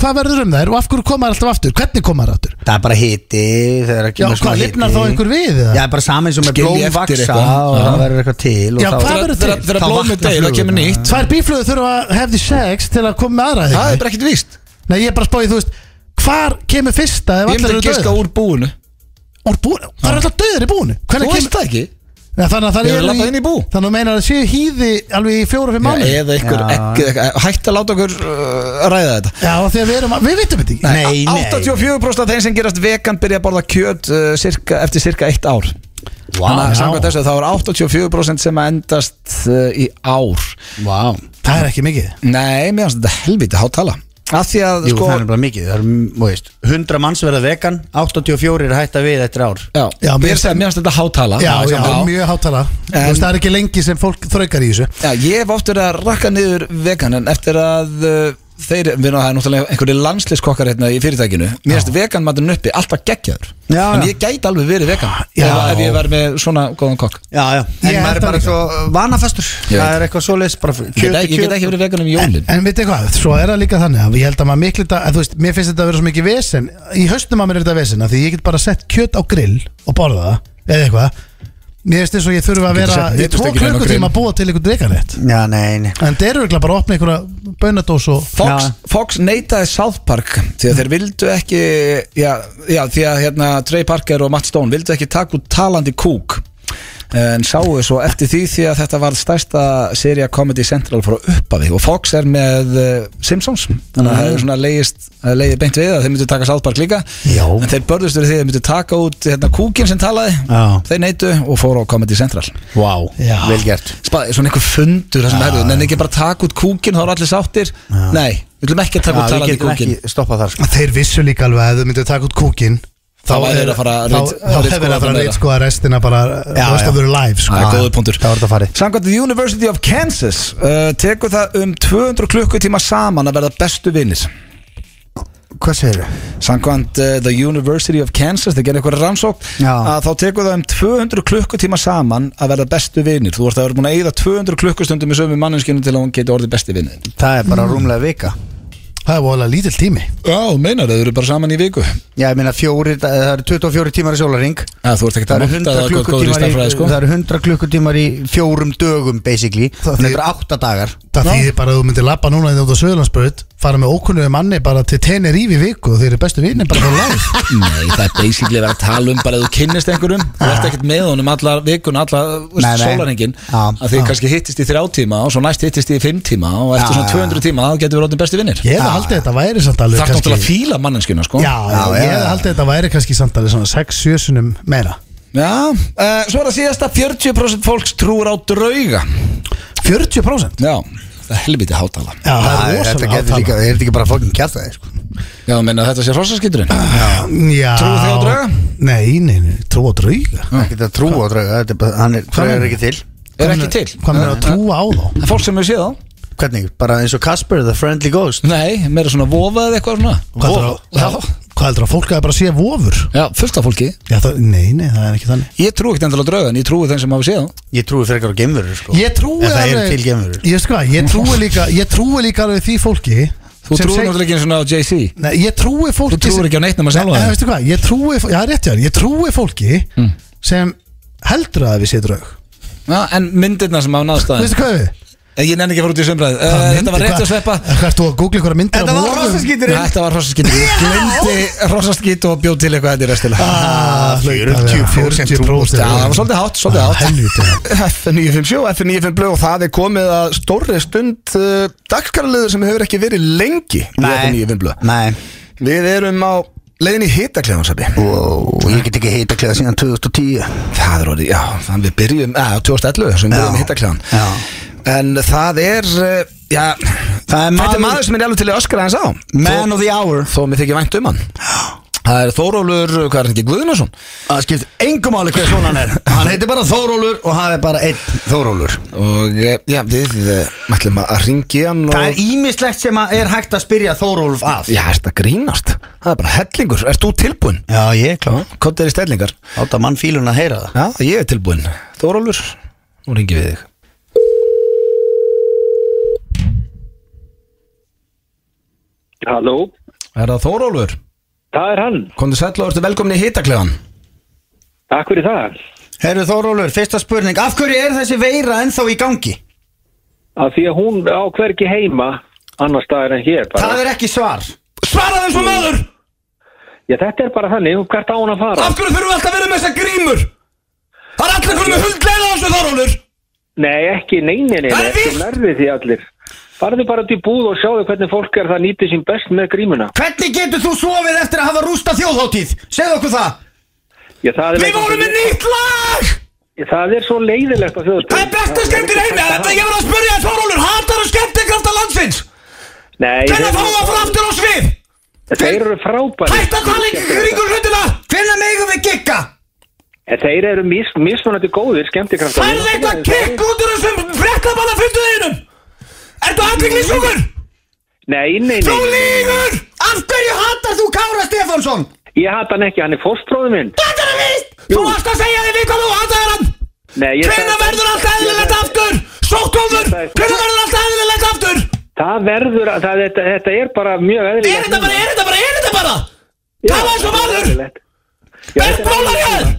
hva verður um þær og af hverju koma þær alltaf aftur? Hvernig koma þær aftur? Það er bara hiti þegar Já, hvað kemur svona lifnar hiti. þá einhver við? Já, eða? bara saman sem með Skilji blóm eftir vaksa eitthvað. og Já. það verður eitthvað til og Já, þá- hvað verður Þegar- til? Þegar Þá blómið vakna deg, það kemur flugurnar. nýtt Tvær bíflögur þurfa að hefði sex til að koma með aðra Það er ekki? bara ekkert víst Nei, ég er bara að spáði, þú veist Hvar kemur fyrsta ef Ég allir myndi eru að giska döður? úr búinu Úr búinu? Það eru alltaf döður í búinu Þú Hvernig veist kemur það ekki Nei, Þannig að það Ég er eru labbað inn í bú. Þannig að þú meinar að séu hýði alveg í fjóra fimm Já, mánu Já, Eða einhver, Já. ekki, hætt að láta okkur uh, ræða þetta af því að við erum að Við veitum þetta ekki Nei, nei 84% af þeim sem gerast vegan byrja að borða kjöt uh, cirka, eftir cirka eitt ár Vá. Þannig að Já. samkvæmt þessu þá er 84% sem að endast uh, í ár Vá Það er ekki mikið Nei, mér finnst þetta helviti hátala Af því að Jú, sko það er bara mikið Það er, þú veist, 100 manns verða vegan 84 er hætta við eftir ár Já, Já, ég mér- er að segja, mér finnst þetta hátala Já, já, mjög hátala Þú En- veist, það er ekki lengi sem fólk þraukar í þessu Já, ég hef oft verið að rakka niður vegan en eftir að uh, þeir, við náðum það er náttúrulega einhverju landsliskokkar hérna í fyrirtækinu mér finnst vegan maturinn uppi alltaf geggjaður Já, já. en ég gæti alveg verið vegan Já. ef, ef ég verið með svona góðan kokk Já, já En Ég held maður er það bara líka. svo vanafastur Ég Það veit. er eitthvað svoleiðis bara Ég get ekki- ég get ekki verið vegan um En, jólin en veitir hvað, svo er það líka þannig að ég held að maður miklu þetta, að þú veist, mér finnst þetta að vera svo mikið vesen í haustum að mér er þetta vesen að því ég get bara sett kjöt á grill og borða það eða eitthvað, mér finnst eins og ég þurfa að Getur vera sett í tvo hnetusteikina inn á grill. klukkutíma að búa til einhvern dreikarétt Já, nei, nei en þeir eru örugglega bara að opna einhverja bönadós og Fox, Já. Fox neitaði South Park því að þeir vildu ekki já, já, því að hérna, Trey Parker og Matt Stone vildu ekki taka út talandi kúk en sáu svo eftir því því að þetta var stærsta seria Comedy Central frá uppafi og Fox er með uh, Simpsons þannig Mhm. að það hefur svona leiðist leiði beint við að þeir myndu taka South Park líka Já. en þeir börðust fyrir því að þeir myndu taka út hérna, kúkin sem talaði Já. þeir neitu og fóru á Comedy Central Vá, Já. vel gert Spæ, svona einhver fundur þessum herðu, en ekki bara taka út kúkin þá eru allir sáttir, nei, við viljum ekki taka Já, út við talandi getum kúkin ekki stoppað þar sko. að þeir vissu líka alveg að þau myndu að taka út kúkin Þá væri þeir að fara að þá, rit- þá hefur ritskoða þeir að fara meira. að reytskoða restina bara, Já, rest já. of their Það lives sko. er góður punktur Það var þetta farið Samkvæmt The University of Kansas uh, tekur það um 200 klukkutíma saman að verða bestu vinnir Hvað segir þau? Samkvæmt uh, The University of Kansas þeir gerir eitthvað rannsók Já. að þá tekur það um 200 klukkutíma saman að verða bestu vinnir Þú vorst að vera búin að eyða 200 klukkustundum í sömu manneskinu til að hún geti orðið besti vinnir Það er Mm. bara rúmlega vika það er vola lítill tími Já, þú meinar þau eru bara saman í viku Já, ég meina fjóri, það eru 24 tímar í sólaring Já, Þú ert ekki Það að eru monta 100 það góður í klukkutímar í, stærfræði sko það eru 100 klukkutímar í fjórum dögum basically Það Þannig þýðir- þetta eru 8 dagar Það þýðir bara að þú myndir lappa núna þegar þú ert á Söðurlandsbraut fara með ókunnugu manni bara til tenir í viku og þeir eru bestu vinni bara frá live Nei, það er basically verið að tala um bara að þú kynnist einhverjum þú ert ekkert með honum allar vikun allar Nei, nei. sólarhengin Já, að þið kannski hittist í þrjá tíma og svo næst hittist í fimm tíma og eftir Já, svona já. 200 tíma þá getur við ráðin besti vinnir Ég hefði haldið þetta væri samt Það alveg er náttúrulega að fíla mannenskjuna sko Já, já, Já, ég já. hefði haldið þetta væri kannski samt alveg svona 6-7 sunum meira Já, eh, Svo er það síðasta 40% fólks trúur á drauga 40% Já, það er helviti hátala Já, það Æ, er Þetta rosalega getur líka, hátala er þetta ekki bara fokkin kjæft það sko. Já, menna þetta sé hrossaskýturinn Já Trúið þið á drauga? Nei, nei, nei, trú á drauga Það getur að trúa á drauga, þetta er bara, hann er, drauga er ekki til Er ekki til Hvað með að trúa á þá? Það er fólk sem hefur séð á Hvernig, bara eins og Casper, the friendly ghost Nei, meira svona vofa eða eitthvað svona Hvað er að- Já. Hvað Hvað heldur að fólk hafi bara séð vofur? Já, fullt af fólki Já, það, nei, nei, það er ekki þannig Ég trúi ekkert endala draugan, ég trúi þeim sem hafa séð þá Ég trúi frekar á geimverur sko Ég trúi En það eru alveg- til geimverur. Ég veist hvað, ég trúi líka, ég trúi líka alveg því fólki Þú sem trúir seg- náttúrulega ekki eins og á JC Nei, ég trúi fólki Þú trúir ekki á neitt nema sem, sjálfa en, þér. veistu hvað, ég trúi, já, rétt hjá, þér, ég trúi fólki sem heldur að við séð draug Já, en myndirna sem hafa náðstæðin Veistu hvað er Eh, við? Ég nenni ekki að fara út í sömbrað uh, Hvaða Þetta myndir, var rétt að hvað- sveppa Hvað ert þú að googla ykkur myndir af vorum? Nei, Þetta var hrossaskýtur Ég glemdi hrossaskýtu og bjóð til eitthvað þetta í restilega Ah, hlaut að 40% vera 40% trúi. Já, það var svolítið hátt, svolítið hátt F957, F957 blöð og það er komið að stórri stund uh, dagskaraliður sem hefur ekki verið lengi í F957 blöð Nei Við erum á leiðin í hitaklefansabi wow, Ég get ekki heita kleða síðan 2010 Það er orðið, já, þannig við byrjum, að 2011 sem við byrjum í hitaklefann Já. En það er, uh, já, Það er þetta maður- er maður sem er alveg til að öskra hans á Man of the hour Þó mér þykir vænt um hann Það er Þórólfur, eh, hvað er hann ekki, Guðnason Það skipt engum áli hver svona hann er Hann heitir bara Þórólur og hann er bara einn Þórólur Og eh, já, við eh, ætlum að ringi hann og... Það er ímislegt sem að er hægt að spyrja Þórólf að Já, er þetta grínast? Það er bara hellingur, ert þú tilbúinn? Já, ég er klá Hvað er í stellingar? Átta mann fílun að heyra það Já, ég er tilbúinn Þórólfur, nú ringi við þig Halló, Er það Þórólfur? það er hann. Komdu sæll og ertu velkomin í hitaklegan Takk fyrir það. Herru Þórólur, fyrsta spurning Af hverju er þessi veira ennþá í gangi? Af því að hún á hvergi heima annar staðar en hér bara. Það er ekki svar Svaraðu eins og maður! Já, þetta er bara þannig, hvert á hún að fara? Af hverju þurfum við alltaf að vera með þessa grímur? Það er allir hvernig með hundleila þessu Þórólfur Nei, ekki, nei, nei, nei, Það nei, er ekki víst. nærði því allir. Farðu bara til búð og sjáðu hvernig fólk er það nýtið sín best með grímuna. Hvernig getur þú sofið eftir að hafa rústa þjóðháttíð? Segð okkur það Já, það er Við vorum með nýtt lag! Já, Það er svo leiðilegt á þjóðstöð. Það er besta skemmtir heimi Þetta ég var að spyrja þér Þórólfur Hatar og skemmtikrafta landsins Nei, Hvernig þeir- fáum við að fara aftur á svið? þeir eru frábæri. Hætt að tala í kringum hlutina Hvenær megum við gigga? Þeir eru mis, mismunandi góðir skemmtikraftar. Færðu eitthvað kikk út úr þessum fréttabanna fymtuðinum Ertu aðviklisjúkur? Nei, nei, Þú nei. lígur! Af hverju hatar þú Kára Stefánsson? Ég hata hann ekki, hann er fórstróðu minn. Þetta er víst! Þú varst að segja því við hvað þú hataðir hann Nei, ég... Hvenær verður allt eðlilegt aftur? Sóttófur! Hvenær verður allt eðlilegt aftur? Það verður, að- það, þetta, þetta er bara mjög eðlilegt. Er þetta bara, er þetta bara, er þetta bara? Já, Tala eins og þetta er maður! eðlilegt. Já, Er þetta er- bólar í aður?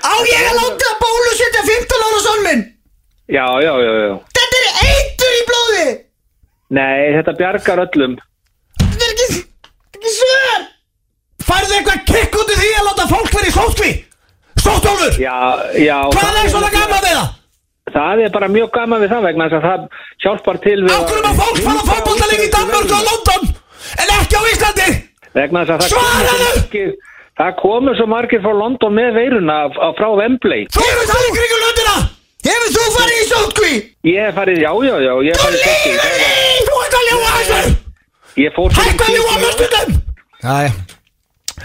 Á ég að láta bólusetja 15 ára sonn minn? Já, já, já, já. Þetta er eitur í blóði! Nei, þetta bjargar öllum. Þetta er ekki, ekki svör! Færðu eitthvað kikk út í því að láta fólk verið í sótkví? Sóttófur! Já, já. Hvað það er svona gaman við það? Það er bara mjög gaman við það vegna þess að það hjálpar til við... að- Ákvörðum að fólk fara fótbollaleik í Danmörk og London En ekki á Íslandi Vegna þess að það... Svaraðu! koma svo margir- Það komur svo margir frá London með veiruna af- af- frá Wembley. Þú eru það í kringum löndina Hefur þú farið í sótkví? Ég hef farið, já, já, já, ég hef farið... Lífur í! Þú ert að ljúa þessu Ég fór... svo- Hættu að ljúa mörgstundum Æ,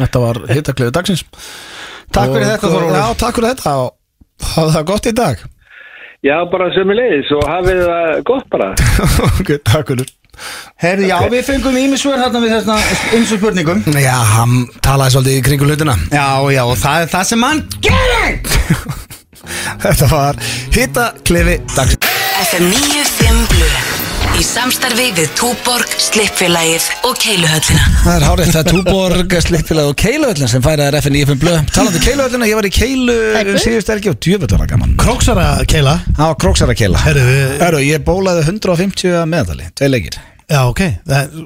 þetta var hittaklegu dagsins Takk fyrir Og- þetta, Þórólfur. Já, takk fyrir þetta og hafðu það gott í dag Já, bara sömu leiðis og hafið það gott bara. Ok, takk fyrir Herðu, já, við fengum ímisvör hérna við þessna eins og spurningum Já, hann talaði svolítið í kringu hlutina Já, já, og það er það sem hann Þetta var hittaklefi dagsins FM 95 Blu Í samstarfi við Túborg, Slippfélagið og Keiluhöllina Það er hárið þetta Túborg, Slippfélag og Keiluöllin sem færaði FN95 blöð Talandi Keiluöllina, ég var í Keilu um síðust elgi og djöfull var það gaman Króksara keila Það var króksar að keila Herru, við- Herru, ég bólaði 150 að meðali, tvei leikir Já, ok Það,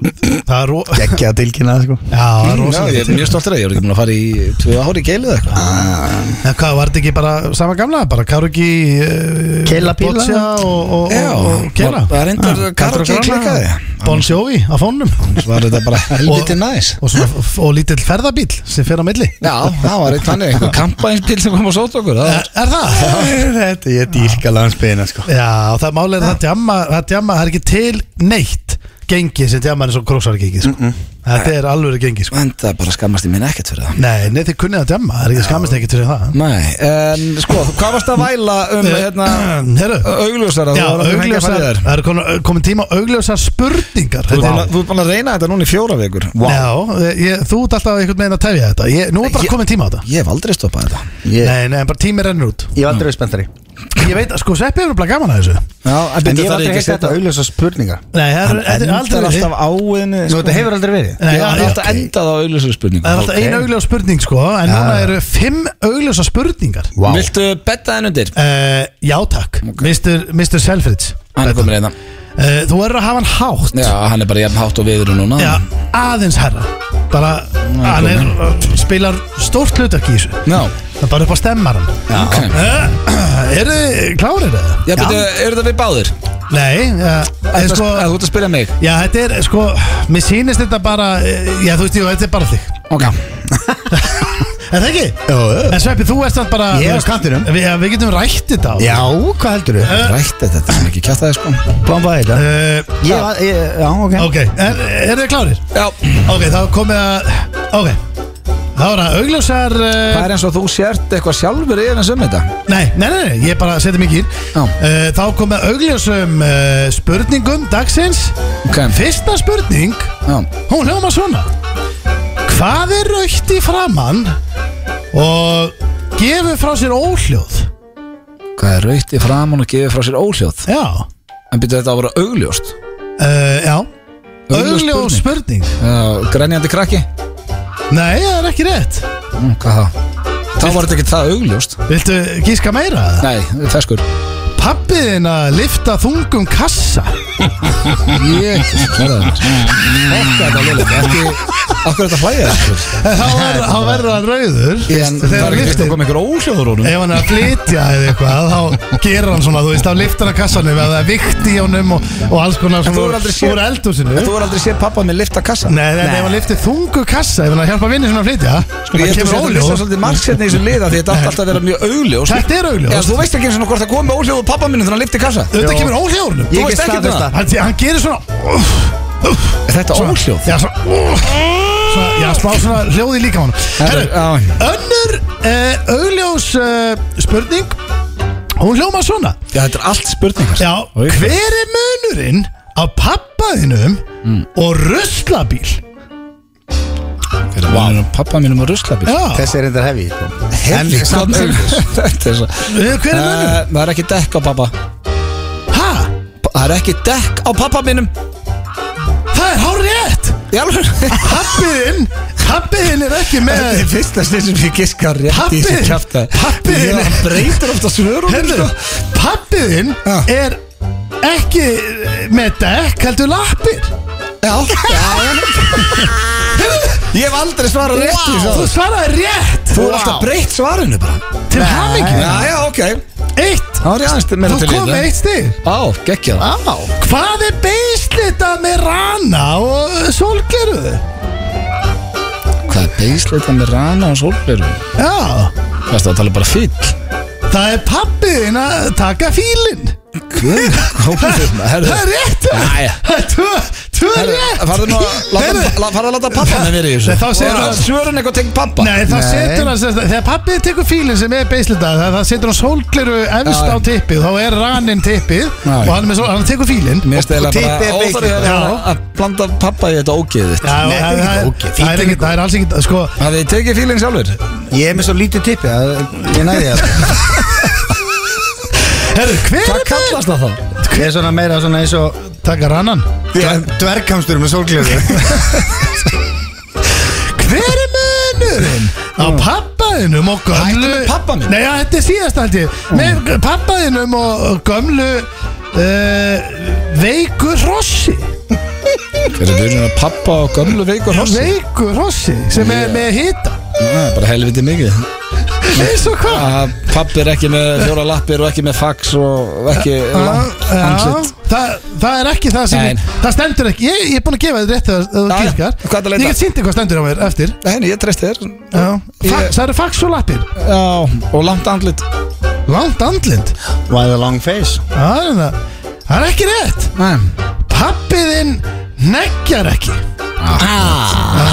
það er ro- Já, Ekki að tilkynna það, sko það er Já, ég rosalega er mjög stoltur að ég var ekki búin að fara í tvö ári í Keilu eða eitthvað En hvað, var þetta ekki bara sama gamla? Bara Karugi, uh, Keila píla. Boccia og, og, Já, og, og Keila það reyndar Karugi klikkaði Bon Jovi á fónum Annars var þetta bara helviti Og- næs og, svona, og lítill ferðabíl sem fer á milli Já, það var eitt þannig, einhver kampainsbíl sem kom og sót okkur það Er, var- er það? Þetta, ég dýrka landsbyðina, sko Já, og það málega það djamma, það djamma, það er ekki til neitt gengi sem djaman er svo króksargengi sko. Þetta er alveg gengi sko. En það bara skammast ég minn ekkert fyrir það Nei, nei þið kunnið að djama, það er ekki skammist ekki til það Nei, en sko, hvað varst að væla um hérna, Herru augljósara Þú Já, var að hengja augljósar, farið þér. það er komin- komin tíma á augljósar spurningar Þú ert Þetta búin er- að- þú ert búin að reyna þetta núna í fjóra vikur Já, ég, þú ert alltaf einhvern veginn að tefja þetta ég, Nú er bara Ég- komin tíma á þetta Ég hef aldrei stoppað þetta Ég Nei, nei, en bara tími rennur út ég hef aldrei verið spenntari Ég veit að sko Sveppi er bara gaman að þessu Já, En ég hef aldrei heilt þetta auðljósa spurningar Nei, það er- þetta er Endar aldrei verið. alltaf áinni Nú, þetta hefur aldrei verið Nei, Já, það já, er alltaf ok. endað á augljósara Það er spurningu alltaf ein augljós spurning sko En núna eru fimm augljósa spurningar Vá. Viltu betta henn undir? uh, Já takk Mr. Mr. Selfridge Hann er komin hérna. reyna uh, Þú verður að hafa hann hátt Já, hann er bara jafn hátt og viður núna Já, aðeins herra Bara, hann er, spilar stórt hlutak í þessu Já, Það er bara upp á stemmaran ok uh, Eru þið klárið það? Já, betur, eru þetta við báðir? Nei, uh, Þú en ert sko að- þú ert að spyrja mig Já, þetta er sko Mér sýnist þetta bara eh, Já, þú veist, jú, þetta er bara þig Ok Er það ekki? Jó, jó En Sveppi, þú ert samt bara þú Ég er á veist, kantinum. Við, já, við getum rætt þetta á Já, hvað heldur þau? Rætt þetta, þetta er ekki kjátt aðeins sko Bomba þetta uh, Ég, ég, já, ok Ok, er, er þið klárir? Já Ok, þá komið að Ok Þá er það augljósar uh, Það er eins og þú sért eitthvað sjálfur yfir eins um þetta nei, nei, nei, nei, ég bara seti mikið í Já. uh, Þá komið að augljósum uh, spurningum dagsins Ok Fyrsta spurning Já Hún hljóma svona Hvað er raukt í framann og gefur frá sér óhljóð? Hvað er raukt í framann og gefið frá sér óhljóð? Já, En byrja þetta að vera augljóst uh, já Augljós Augljós spurning Já, Grenjandi krakki Nei, það er ekki rétt mm, Hvað það? Þá var þetta ekki það augljóst Viltu gíska meira? Nei, feskur Pappiðin að lifta þungum kassa Ég Þetta er ljóðlega Ekki Akkur þetta hlæja þessu En Þá verður- þá verður hann rauður En það Þegar er hann ekki þetta liftir að koma einhver óhljóður honum Ef hann er að flytja eða eitthvað Þá gerir hann svona, þú veist, þá liftir hann kassanum Ef það er vikt í honum og, og alls konar þú hefur svona aldrei séð- Úr eldhúsinu En Þú er aldrei séð pappa með lifta kassa Nei, nei, nei, ef hann liftir þungu kassa Ef hann er að hjálpa vinni sinna að flytja Ég Það held að þú kemur sér óljós Sko, svolítið margs hérna í þessu liða því þetta átti alltaf að vera mjög augljós Þetta er augljós. Já, Þú veist ekki eins og hvort það kom með óhljóð og pappa minni þannig að hann lifti kassa Þetta kemur óhljóðunum Þú veist ekki um það Hann, hann gerir svona uh, Er Þetta er óhljóð Já, svona, uh, svona Já, smá svona hljóði líka hann Herru, Herru, já. önnur uh, augljós uh, spurning Hún hljóma svona Já, Þetta er allt spurningar Já, hver er munurinn á pappaðinum Mm. og ruslabíl? Wow. Pappa mínum og ruslabíl Já, Þessi er reyndar sko. hefi En samt augljós Þetta er svo Eh, hver er munurinn? Eh, Það er ekki dekk á pappa Eh. Ha, Það er ekki dekk á pappa mínum það er hár rétt Í alveg Pappiðin, pappiðin er ekki Þetta með er fyrsta stund sem ég giska rétt í þessu Pappið- kjafta pappið- Já, hann breytir ofta svörum sko. Herðu, pappiðin Ah. er ekki með dekk, heldur lappir Já, Ég hef aldrei svarað rétt í Þú þessu svaraði rétt Þú er alltaf breytt svarinu bara Til hamingi Já, já, ok Eitt, Það var ég aðeins meira þú til í kom með eitt stig Á, geggja það Á, hvað er beislita með rana og sólgleruðu? Hvað er beisleita með rana og sólberu? Já, Hvað er það að tala bara fyll? það er pappiðin að taka fílinn Guð, komið með Það er rétt Jæja. Það er tvö, tvö rétt Farðu nú að láta, Heyrðu. la- farðu að láta pappa með verið í þessu Nei, þá segir Og hann- öll Svörin eitthvað tengt pappa Nei, það setur hann sem sagt- Þegar pappið tekur fílinn sem er beislita Það, það setur hann sólgleru efst Já. á tippið Þá er raninn tippið Já. Og hann, er með sól, hann tekur fílinn Mér stæðilega Og tippið bara er óþarið beislita. að- að- að blanda pappa í þetta ógeðið þitt. Já, það þetta er það- ekkert ógeð. það er ekkert- það er alls ekkert Sko, Hafið þið tekið fílinn sjálfur? Ég er með svo lítið tippi að Ég næði það herru, hver Hvað er með kallast það þá? Ég er svona meira svona eins og Taka rannan Dverghamstur með sólgleru Hver er munurinn á pappaðinum og Hættu gömlu með pabba minn. Nei, já, þetta er síðast held ég Með pappaðinum og og gömlu uh, veiku hrossi Hver er byrjun að pappa og gömlu veikur hossi? Veiku hrossi sem er með hita Nei, bara helviti mikið Eins og hvað að pappi er ekki með fjóra lappir og ekki með fax og ekki langt Já, andlit það, það er ekki það sem Nei. ég, Það stendur ekki, ég, ég er búin að gefa þér rétt þegar þú Já, já. Hvað ertu að kirkar leita? Ég get sýndi hvað stendur á mér eftir Nei, ég treyst þér Fax- Það eru fax og lappir Já, og langt andlit Langt andlind Why the long face hérna- Það er það Það er ekki rétt Nei, Pappiðinn Neggjar ekki Já, já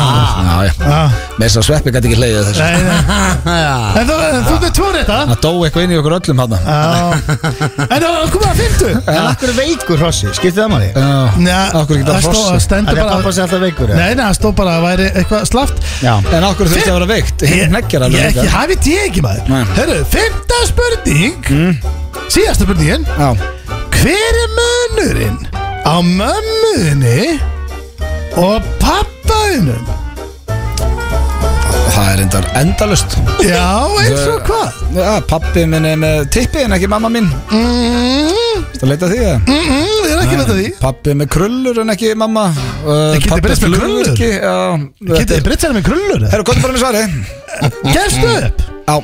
ah. Með þess að sveppi gæti ekki hleyðið þessu Nei, nei. En þú, þú ert með tvo rétta Það dó eitthvað inn í okkur öllum hann Já. En það var komið að 50 En akkur er veikur hrossi, skiptið það maður Nei, okkur ekki bara það stóð- hrossi. það stendur Það er bara pappa sér alltaf veikur eða? Nei, nei, það stóð bara að væri eitthvað slaft Já En okkur þurfti að vera veikt Hinn neggjar Ég alveg ekki, líka hafið ég ekki maður Nei. Mm. Herru, fymta spurning Síðasta spurningin Já. Hver er munurinn á mömmuðinni og pappaðinum? Það er endar endalust Já, eins og hvað? Já, pappi minn er með tippi en ekki mamma mín Mm, Það leita því að mm, mm, Ég er ekki veit að því Pappi með krullur en ekki mamma uh, Ég geti breyst með krullur. ekki, já, Getið þið breytt sér með krullur? Herru, gott bara með svari Gefstu Mm. upp? Já,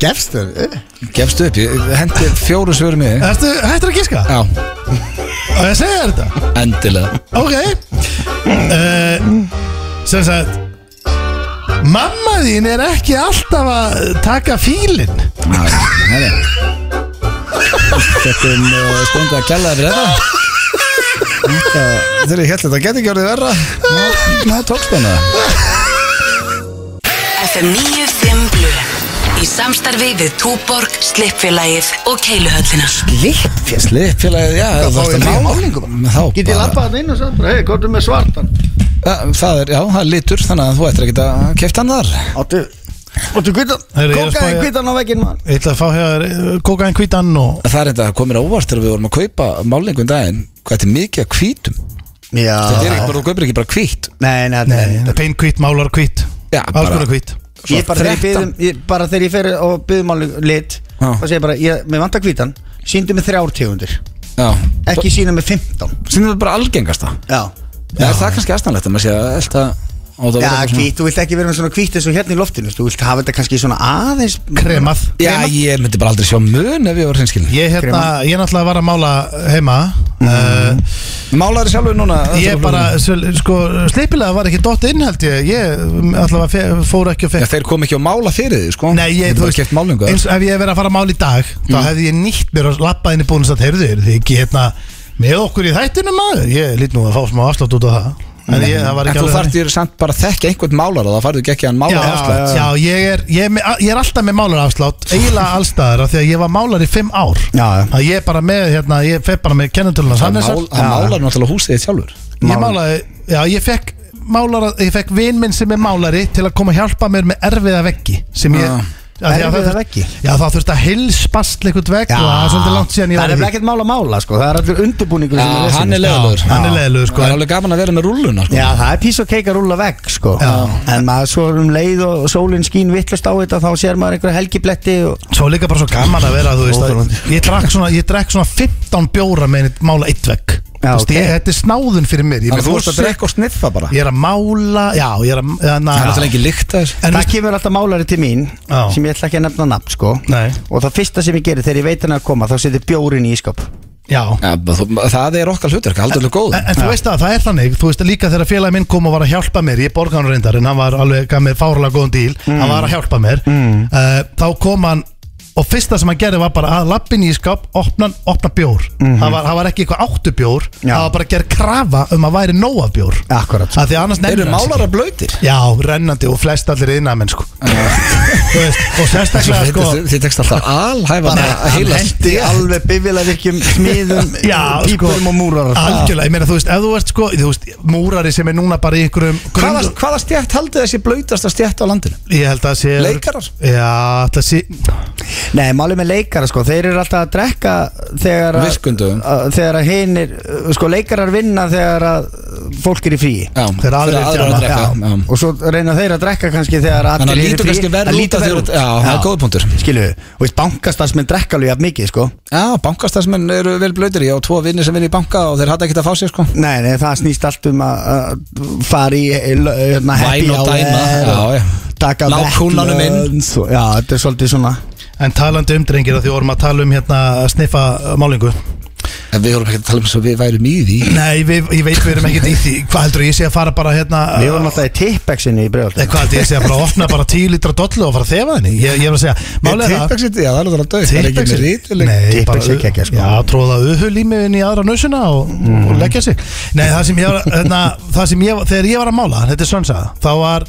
Gefst þér eh? gefstu upp, ég hendi fjóru svörum í þig. Ertu hættur að giska? Já, Og ég segja þér þetta endilega Ok uh, Sem sagt Mamma þín er ekki alltaf að taka fílinn Já, það er Þetta er uh, stundið að kella fyrir þetta uh, Þetta, þegar ég held þetta geti ekki orðið verra Ná- Ná tókst hana FM 95 Blu Í samstarfi við Túborg, Slippfélagið og Keiluhöllina Sliðfélagið, já, það fá varst ég að um nýja málingu Þá Getið bara- labbað hann inn og svo bara, hei, komdu með svartan Já, Það er, já, það er litur Þannig að þú ættir ekki að kefta hann þar Áttu, áttu hvítan Herri, ég er að Kókaði spá í- hvítan á vegginn maður Ég ætla að fá hér eh, kókaðin hvítan og Það er þetta komin á óvart þegar við vorum að kaupa málingu um daginn Hvað þetta er mikið að hvítum Þetta er Já ekki bara, þú kaupir ekki bara hvít Nei, nei, nei, nei. Pein hvít, málar hvít Já, bara- Alls konar hvít Ég bara þegar ég 13. byðum ég, Bara þegar ég fer og byðum alveg lit Já. Þá segir ég bara, ég, mér vantar hvítan Sýndu með þrjár tegundir Já, Ekki sína með 15 sínum við bara algengasta Já Já, það er kannski aðstæðanlegt að maður sé að elta á það að Já, vera eitthvað svona- hvít, þú vilt ekki vera með svona hvít eins og hérna í loftinu Þú vilt hafa þetta kannski svona aðeins Kremað Já, ég myndi bara aldrei sjá mun ef ég var hinskilin Ég hérna, ég náttúrulega var að mála heima Mhm. mm. Málaður sjálfur núna Ég bara, svol- sko, sleipilega var ekki dott inn held ég Ég alltaf fór ekki og Já, fekk þeir kom ekki á mála fyrir þig, sko Nei, ég, þú veist Keft málingu eins og ef ég hef verið að fara að mála í dag þá Mhm. hefði ég nýtt mér að lappa inn í búin að heyrðu þér, þið ekki hérna með okkur í þættunum maður, ég lít nú að fá smá afslátt út á það en ég, það var En ekki þú alveg þarf þannig. þér samt bara að þekka einhvern málara Það farðu ekki ekki að hann Já, mála já, já, ég er, ég, er með- ég er alltaf með málar afslátt eiginlega allstaðar af því að ég var málar í fimm ár Já, já. að ég er bara með, hérna, ég fer bara með kennetölunar Hann Hannesar málar náttúrulega húsið þitt sjálfur ég málaði, já, ég fekk málara, ég fekk vin minn sem er málari til að koma að hjálpa mér með erfiða veggi sem ég Já. af því að það Erfiða þurft- veggi? Já, það þurfti að hilspast einhvern vegg og það er svolítið langt síðan ég Það var í er því. nefnilega ekkert mála mála, sko Það er allur undirbúningur sem Já, hann er leiðilegur hann er leiðilegur Það sko er alveg gaman að vera með rúlluna, sko Já, það er pís og keik að rúlla vegg, sko En maður svo um leið og sólinn skín vittlust á þetta Þá sér maður einhverja helgibletti og... svo er líka bara svo gaman að vera þú veist að, ég drakk svona, ég drakk svona 15 bjóra með einn mála eitt vegg Þú Já, veist, ok. ég, þetta er snáðun fyrir mér ég, Þannig að þú meina, ert að drekka og sniffa bara ég er að mála já, ég er að na, Það er náttúrulega ekki líkt að en, Það veist, kemur alltaf málari til mín Já. Sem ég ætla ekki að nefna nafn, sko Nei. Og það fyrsta sem ég gerir þegar ég veit hann er að koma Þá setur bjórin í ískap já þér Það er okkar hlutverk, aldrei góð En, en þú veist að það er þannig, þú veist að líka þegar félagi minn kom og var að hjálpa mér, ég borga hann reyndar en hann var alveg, gaf mér fárlega góðan díl Mm. hann var að hjálpa mér uh, þá kom hann og fyrsta sem hann gerði var bara að lappin í skáp, opna, opna bjór Mhm. það, var, það var ekki eitthvað áttu bjór Já. það var bara að gera krafa um að væri nóg af bjór Akkurat, sko. að því að annars Eru nefnir hann málara blöytir? Já, rennandi og flest allir innamenn sko Þú veist, og sérstaklega sko Þið tekst alltaf alhæfa að Hann heila hendi alveg bifilavirkjum smiðum Já, sko, Pípurum og múrar Algjörlega, ég meina þú veist, ef þú ert sko þú veist, Múrari sem er núna bara í einhverjum Hvaða, grunn- hvaða stjætt haldið þessi blöytasta stjætt á landinu? Ég held að sé Leikarar? Já, það sé Nei, málið með leikara sko, þeir eru alltaf að drekka þegar að, Virkum dögum. að þegar að hinir, uh, sko leikarar vinna þegar að uh, fólk er í fríi Já, Þeir aðrir þegar eru aðrir að að drekka já. og svo reyna þeir að drekka kannski þegar að Þannig að allir lítur eru í fríi. kannski verr Það út lítur að verr þeir- já, það er góður punktur. Skilu, og veist, bankastarfsmenn drekka alveg jafn mikið sko Já, bankastarfsmenn eru vel blöytir Ég á tvo vinni sem vinni í banka og þeir hatta ekkert að fá sér sko Nei, nei, það snýst allt um að að fara í eh, l- hérna, happy Væn og hour dæma, já, já. Taka Ná kúnanum inn. vettlöns og- Já, þetta er svolítið svona En talandi um drengir að því vorum að tala um hérna að sniffa uh, málingu En við vorum ekki að tala um þess að við værum í því Nei, við, ég veit við erum ekkert í því Hvað heldur ég sé að fara bara hérna Við vorum alltaf í tippexinni í Nei, bregðaltinu hvað heldur ég sé að fara að opna bara 10 litra dollu og fara að þefa henni Ég, ég var að segja, málega það Tippexit, já, það er alveg að döð Það er ekki með Tippex- rítuleg Nei, bara Tippex er kekkja, sko. Já, tróða auðhull í mig inn í aðra nössuna og, og leggja sig Nei, það sem ég var hérna, það sem ég, Þegar ég var að mála, þetta er sönsaða Þá var,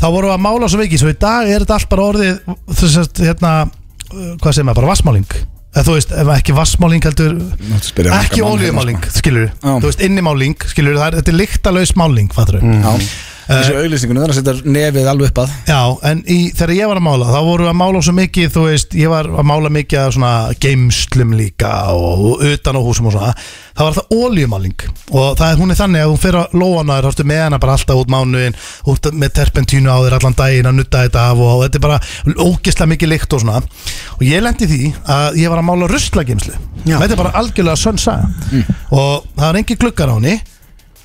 þá vorum við að mála svo mikið Svo í dag er þetta allt bara orðið Þess að, hérna, uh, hvað segir maður, bara vassmáling Eða þú veist, ef ekki vassmáling heldur að spyrja marga mann Ekki hérna, ólíumáling, skilur Já. Þú veist, innimáling, skilur það er, Þetta er lyktalaus máling, fattur Mm. Þessu auglýsningunum þarf að setja nefið alveg upp að Já, en í, þegar ég var að mála þá vorum við að mála svo mikið, þú veist ég var að mála mikið að svona geimslum líka og, og utan á húsum og svona það var það óljumáling og það er, hún er þannig að hún fyrir að lóana þér hórstu með hana bara alltaf út mánuðin út með terpentínu á þér allan daginn að nutta þetta af og, og þetta er bara ógislega mikið lykt og svona og ég lendi því að ég var að mála ruslageimslu þetta er bara algjörlega sönsa mm. og það var engin gluggar á henni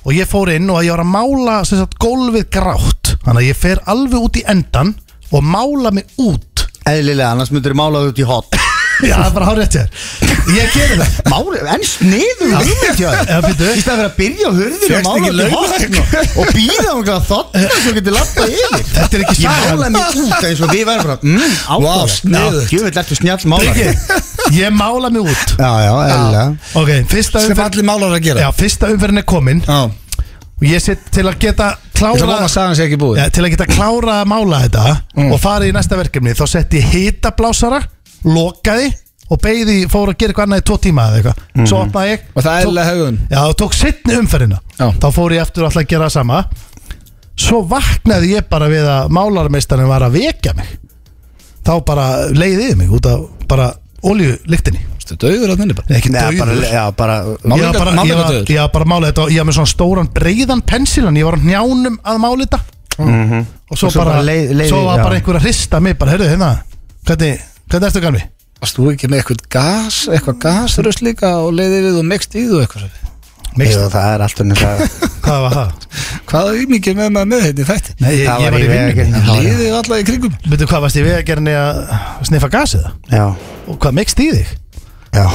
og ég fór inn og ég var að mála sem sagt, gólfið grátt þannig að ég fer alveg út í endan og mála mig út Eðlilega, annars myndir við málaðu út í hot já, það er bara hárið þér ég gerir það Máli, en sniður hugmynd hjá þér. Já, býttu. Í stað fyrir að byrja á hurðinu og Fékkst mála ekki út í hot Og býða um hvað þotna svo getur lappa yfir Þetta er ekki sagan. Ég mála mig út eins og við værum frá mm, Vá, sniðugt. Gjöfitt, ertu snjall mála Já, Ekki. ég mála mig út já, eðlilega ok, fyrsta Sem umferð allir málar að gera já, fyrsta umferðin er komin Já. og ég set til að geta Ég ætla að Mm. klára vona að sagan sé ekki búið ja, til að geta klára að mála þetta og farið í næsta verkefni þá setti ég hitablásara lokaði og beigði fór að gera eitthvað annað í tvo tíma eða eitthvað svo opnaði ég Mhm. Og það er tók- eðlilega haugun Já, það tók sittni umferðina Já. Þá fór ég eftir alltaf að gera það sama Svo vaknaði ég bara við að málarmeistanin var að vekja mig Þá bara leiðið mig út af bara olíulyktinni Þú döður að þenni bara Nei, ekki Nei, bara, dauður já, bara Ég var Málinga- bara, ég var, málingadauður. ég var bara að mála þetta og ég var með svona stóran breiðan pensilan Ég var á njánum að mála þetta Og svo, Og svo bara, bara leið- leiðið, svo var já. bara einhver að hrista mig Bara, heyrðu, hérna, hvernig, hvernig ertu gamli? Varst þú ekki með eitthvað gas, eitthvað gasröst líka og leiði við og mikst í þú eitthvað svo? Mikst, Jú, það er alltaf nefnilega hvað var það? Hvað er mikið með maður með þetta í þætti? Nei, ég, Það ég var var í í vinninni Vegagerðinni. Líðið við alla í kringum Veitu hvað varst ég við að gera að sniffa gasið það? Já, Og hvað mikst í þig? já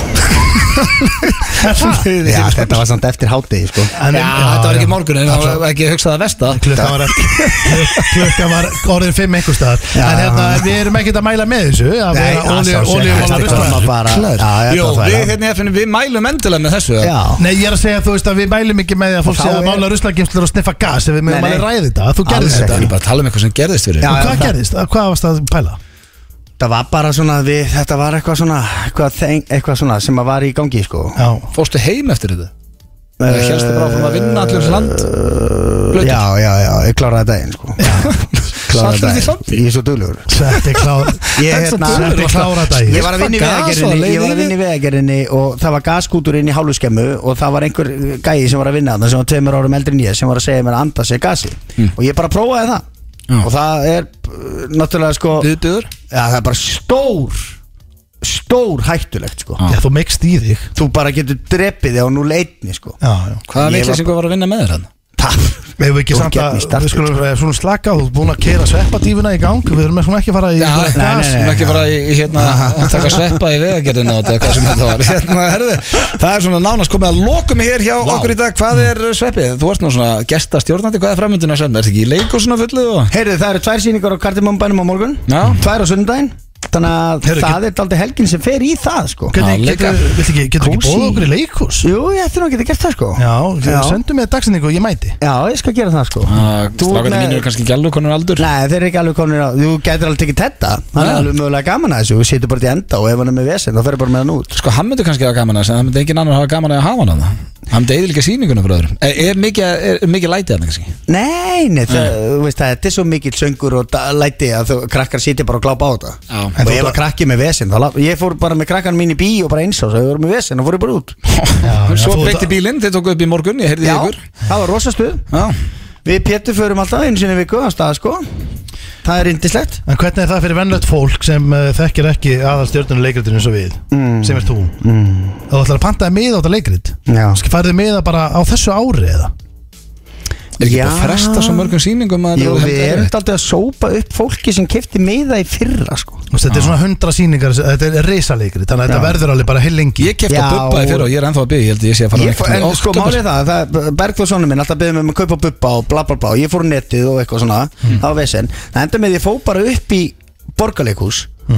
Það? Já, þetta var samt eftir hátegi, sko En- Já, þetta var já. ekki morgun en það var ekki hugsað að versta Klukkan var, klukkan var orðin fimm einhver staðar En hérna, við erum ekkert að mæla með þessu Að Nei, vera að sjá sér. olíumála Þetta rusla var bara- Já, þetta Jó, var það, við, já. hérna, FN, við mælum endilega með þessu Já Nei, ég er að segja, þú veist að við mælum ekki með því að fólk Og sé þá að er- mála ruslagimslur og sniffa gas ef við mögum Nei, nei. alveg ræði þetta, þú gerðist Alls Þetta þetta er bara að tala um eitthvað sem gerðist fyrir Já, Og hvað það- gerðist, Að hvað varst að pæla? Það var bara svona við, þetta var eitthvað svona eitthvað, þeng, eitthvað svona sem að var í gangi sko Já, Fórstu heim eftir þetta? Eh, Eða hélstu bara áfram að vinna allir þessu land? Blautur. Já, já, já, ég kláraði daginn sko Kláraði Saltur því daginn, samt? ég er svo duglegur þetta er klár Ég, hérna, Þetta er klára dagir Ég var að vinna í Gas og vegagerðinni Ég var leið að vinna í vegagerðinni og það var gaskútur inn í hálfuskemmu og það var einhver gæi sem var að vinna þarna sem var tveimur árum eldri en ég sem var að segja mér að anda sér gasi Hmm. og ég bara prófaði það og það er uh, náttúrulega sko já, Viðbjöður? það er bara stór stór hættulegt sko Já, þú mikst í þig þú bara getur drepið þig á núl einni sko Já, já Hvaða Ég var- vitleysingur var að vinna með þér hann? það Við hefum ekki Þú samt gefn í að, startið, við skulum eh, svona slaka á, þú ert búin að keira sveppatífuna í gang, við erum svona ekki að fara í Já, eitthvað nei, gas. nei, nei, ekki bara í, í hérna að taka sveppa í vegagerðinu á þetta hvað sem þetta var hérna, herðu, það er svona nánast komið að lokum hér hjá okkur í dag hvað er sveppið? Þú ert nú svona gestastjórnandi hvað er framöndinu að senda? Er þetta ekki í leikúsuna fullu? Og... Heyrðu, það eru tvær síningar á kardimumbænum á morgun Já. Tvær á sundaginn Þannig að Heyrðu, það er aldrei helgin sem fer í það sko Hvernig, Já, leika. getur, viltu ekki, getur ekki Kósí. bóða okkur í leikhús? Jú, ég ætti nú að geta gert það sko Já, Já. sendu mig dagsendingu og ég mæti Já, ég skal gera það sko Þú ert Ah, Strákarnir með- mínir eru kannski gælu konur aldur Nei, þeir eru ekki alveg komin á Þú getur alveg tekið þetta Það er Já. alveg mögulega gaman að þessu Þú setur bara til enda og ef hann er með vesen þá ferðu bara með hann út Sko, hann myndi kannski hafa gaman að þessu en það myndi engin annar hafa gaman að hafa hann hann Hann myndi eða líka sýningunum frá öðrum Er, er mikið, er, er mikið lætið hann kannski? Nei, nei, það, þú veist það Þetta er svo mikill söngur og da- læti að þú, krakkar sitja bara og glápa á þetta Já. Og ef að krakki er með vesen þá, lá- Ég fór bara með krakkan mín í bí og bara eins og Þau voru með vesen og fóru bara út já, Svo þú- breytti bílinn, þið tóku upp í morgun, ég heyrði í Já, ykkur það var rosastuð Já, Við Pétur förum alltaf einu sinni í viku að stað sko Það er indislegt En hvernig er það fyrir vennlegt fólk sem uh, þekkir ekki aðal stjórnum leikritinu eins og við sem er þú mm. Þú ætlar að pantaði miða á þetta leikrit Já. Ska færðu miða bara á þessu ári eða Er ekki Já. bara að fresta svo mörgum sýningum að Jú, þetta er við heldur erum erfitt? Þetta er að sópa upp fólki sem kefti miða í fyrra sko Þú veist, Þetta er svona hundra sýningar Þetta er risaleikri Þannig að þetta verður alveg bara heil lengi Ég kefti Já. að bubba í fyrra og ég er ennþá að byggja Ég held að ég sé að fara Ég fór, en sko október. málið er það, það Bergþór sonur minn alltaf beðið mig um að kaupa bubba og bla bla bla og ég fór á netið og eitthvað svona Hmm. það var vesen, það enda með því ég fór bara upp í borgarleikhús Hmm.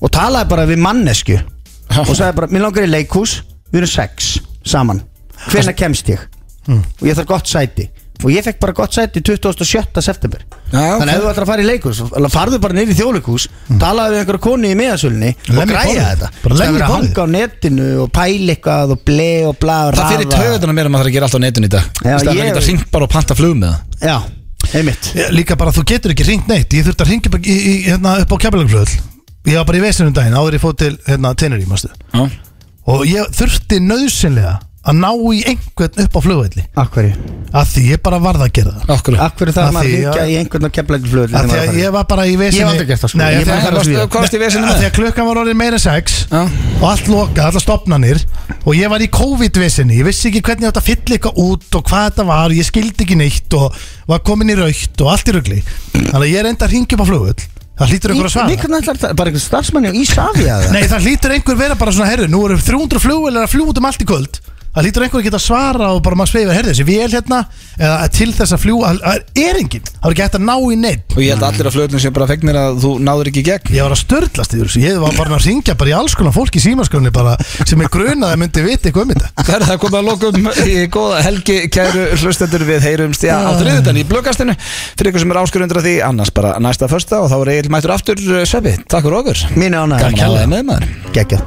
og talaði bara við mannesku og sagði bara, mér langar í leikhús við erum sex saman hvenær kemst ég Hmm. og ég þarf gott sæti og ég fekk bara gott sæti 27. september Já, ok. þannig að ef þú ætlar að fara í leikhús alveg farðu bara niður í þjóðleikhús talaðu við einhverja konu í miðasölunni og Hmm. Lemja í græja borðið. þetta Bara lemja í Það er að borðið. hanga á netinu og pæla eitthvað og ble og bla og Það fyrir töðuna mér að maður þarf að gera allt á netun í dag Já, Það ég- er ekki að ringt bara og panta flug með það Já, einmitt Ég- Eh, Líka bara þú getur ekki ringt neitt Ég þurfti að ringa upp, í, í, hérna, upp á kefalagflöðl Ég var bara í vesinum um daginn áður ég fóð til hérna, Teneri, mástu Og ég þurfti nauðsynlega að ná í einhvern upp á flugvelli Akkurri Af því ég bara varð að gera það Akkur Akkurri það Af að maður því, hengja já. í einhvern og kemlegur flöður Af því að ég var bara í vesinni Ég hef aldrei gert það, sko. Nei, Ég af því bara- að- þarf að Varstu smíða. komst í vesinu Af með því að klukkan var orðin meira en sex Já. og allt lokað, allar stopnanir og ég var í COVID-vissinni, ég vissi ekki hvernig ég átt að fylla eitthvað út og hvað þetta var ég skildi ekki neitt og var komin í raukt og allt í rugli, þannig að ég reyndi að ringja upp á flugull, það hlýtur einhver að svara Líkvæmna ætlar það, bara einhver starfsmanni og Ísafja Nei, það hlýtur einhver vera bara svona, herru, nú eru 300 flugullar að fljúa út um allt í kvöld það hlýtur einhver að geta að svara og bara maður sveifir herri þessi vél hérna, eða til þess að fljúa það er enginn, það er ekki hægt að ná í neitt Og ég held að allir að flugurinn sé bara fegnir að þú náður ekki í gegn Ég var að störlast yfir þessu, ég var bara að ringja bara í alls konar fólk í símaskrunni bara sem ég grunaði að myndi vita eitthvað um þetta Það er það komið að lokum í góða helgi kæru hlustendur við heyrumst já, á þriðutan í blöggastinu fyrir ykkur sem er áskurundur að því annars bara næsta första og þá er Egil mættur aftur sveppi, takk fyrir okkur Mínu ánægð Gaman að hafa þig með maður Gekja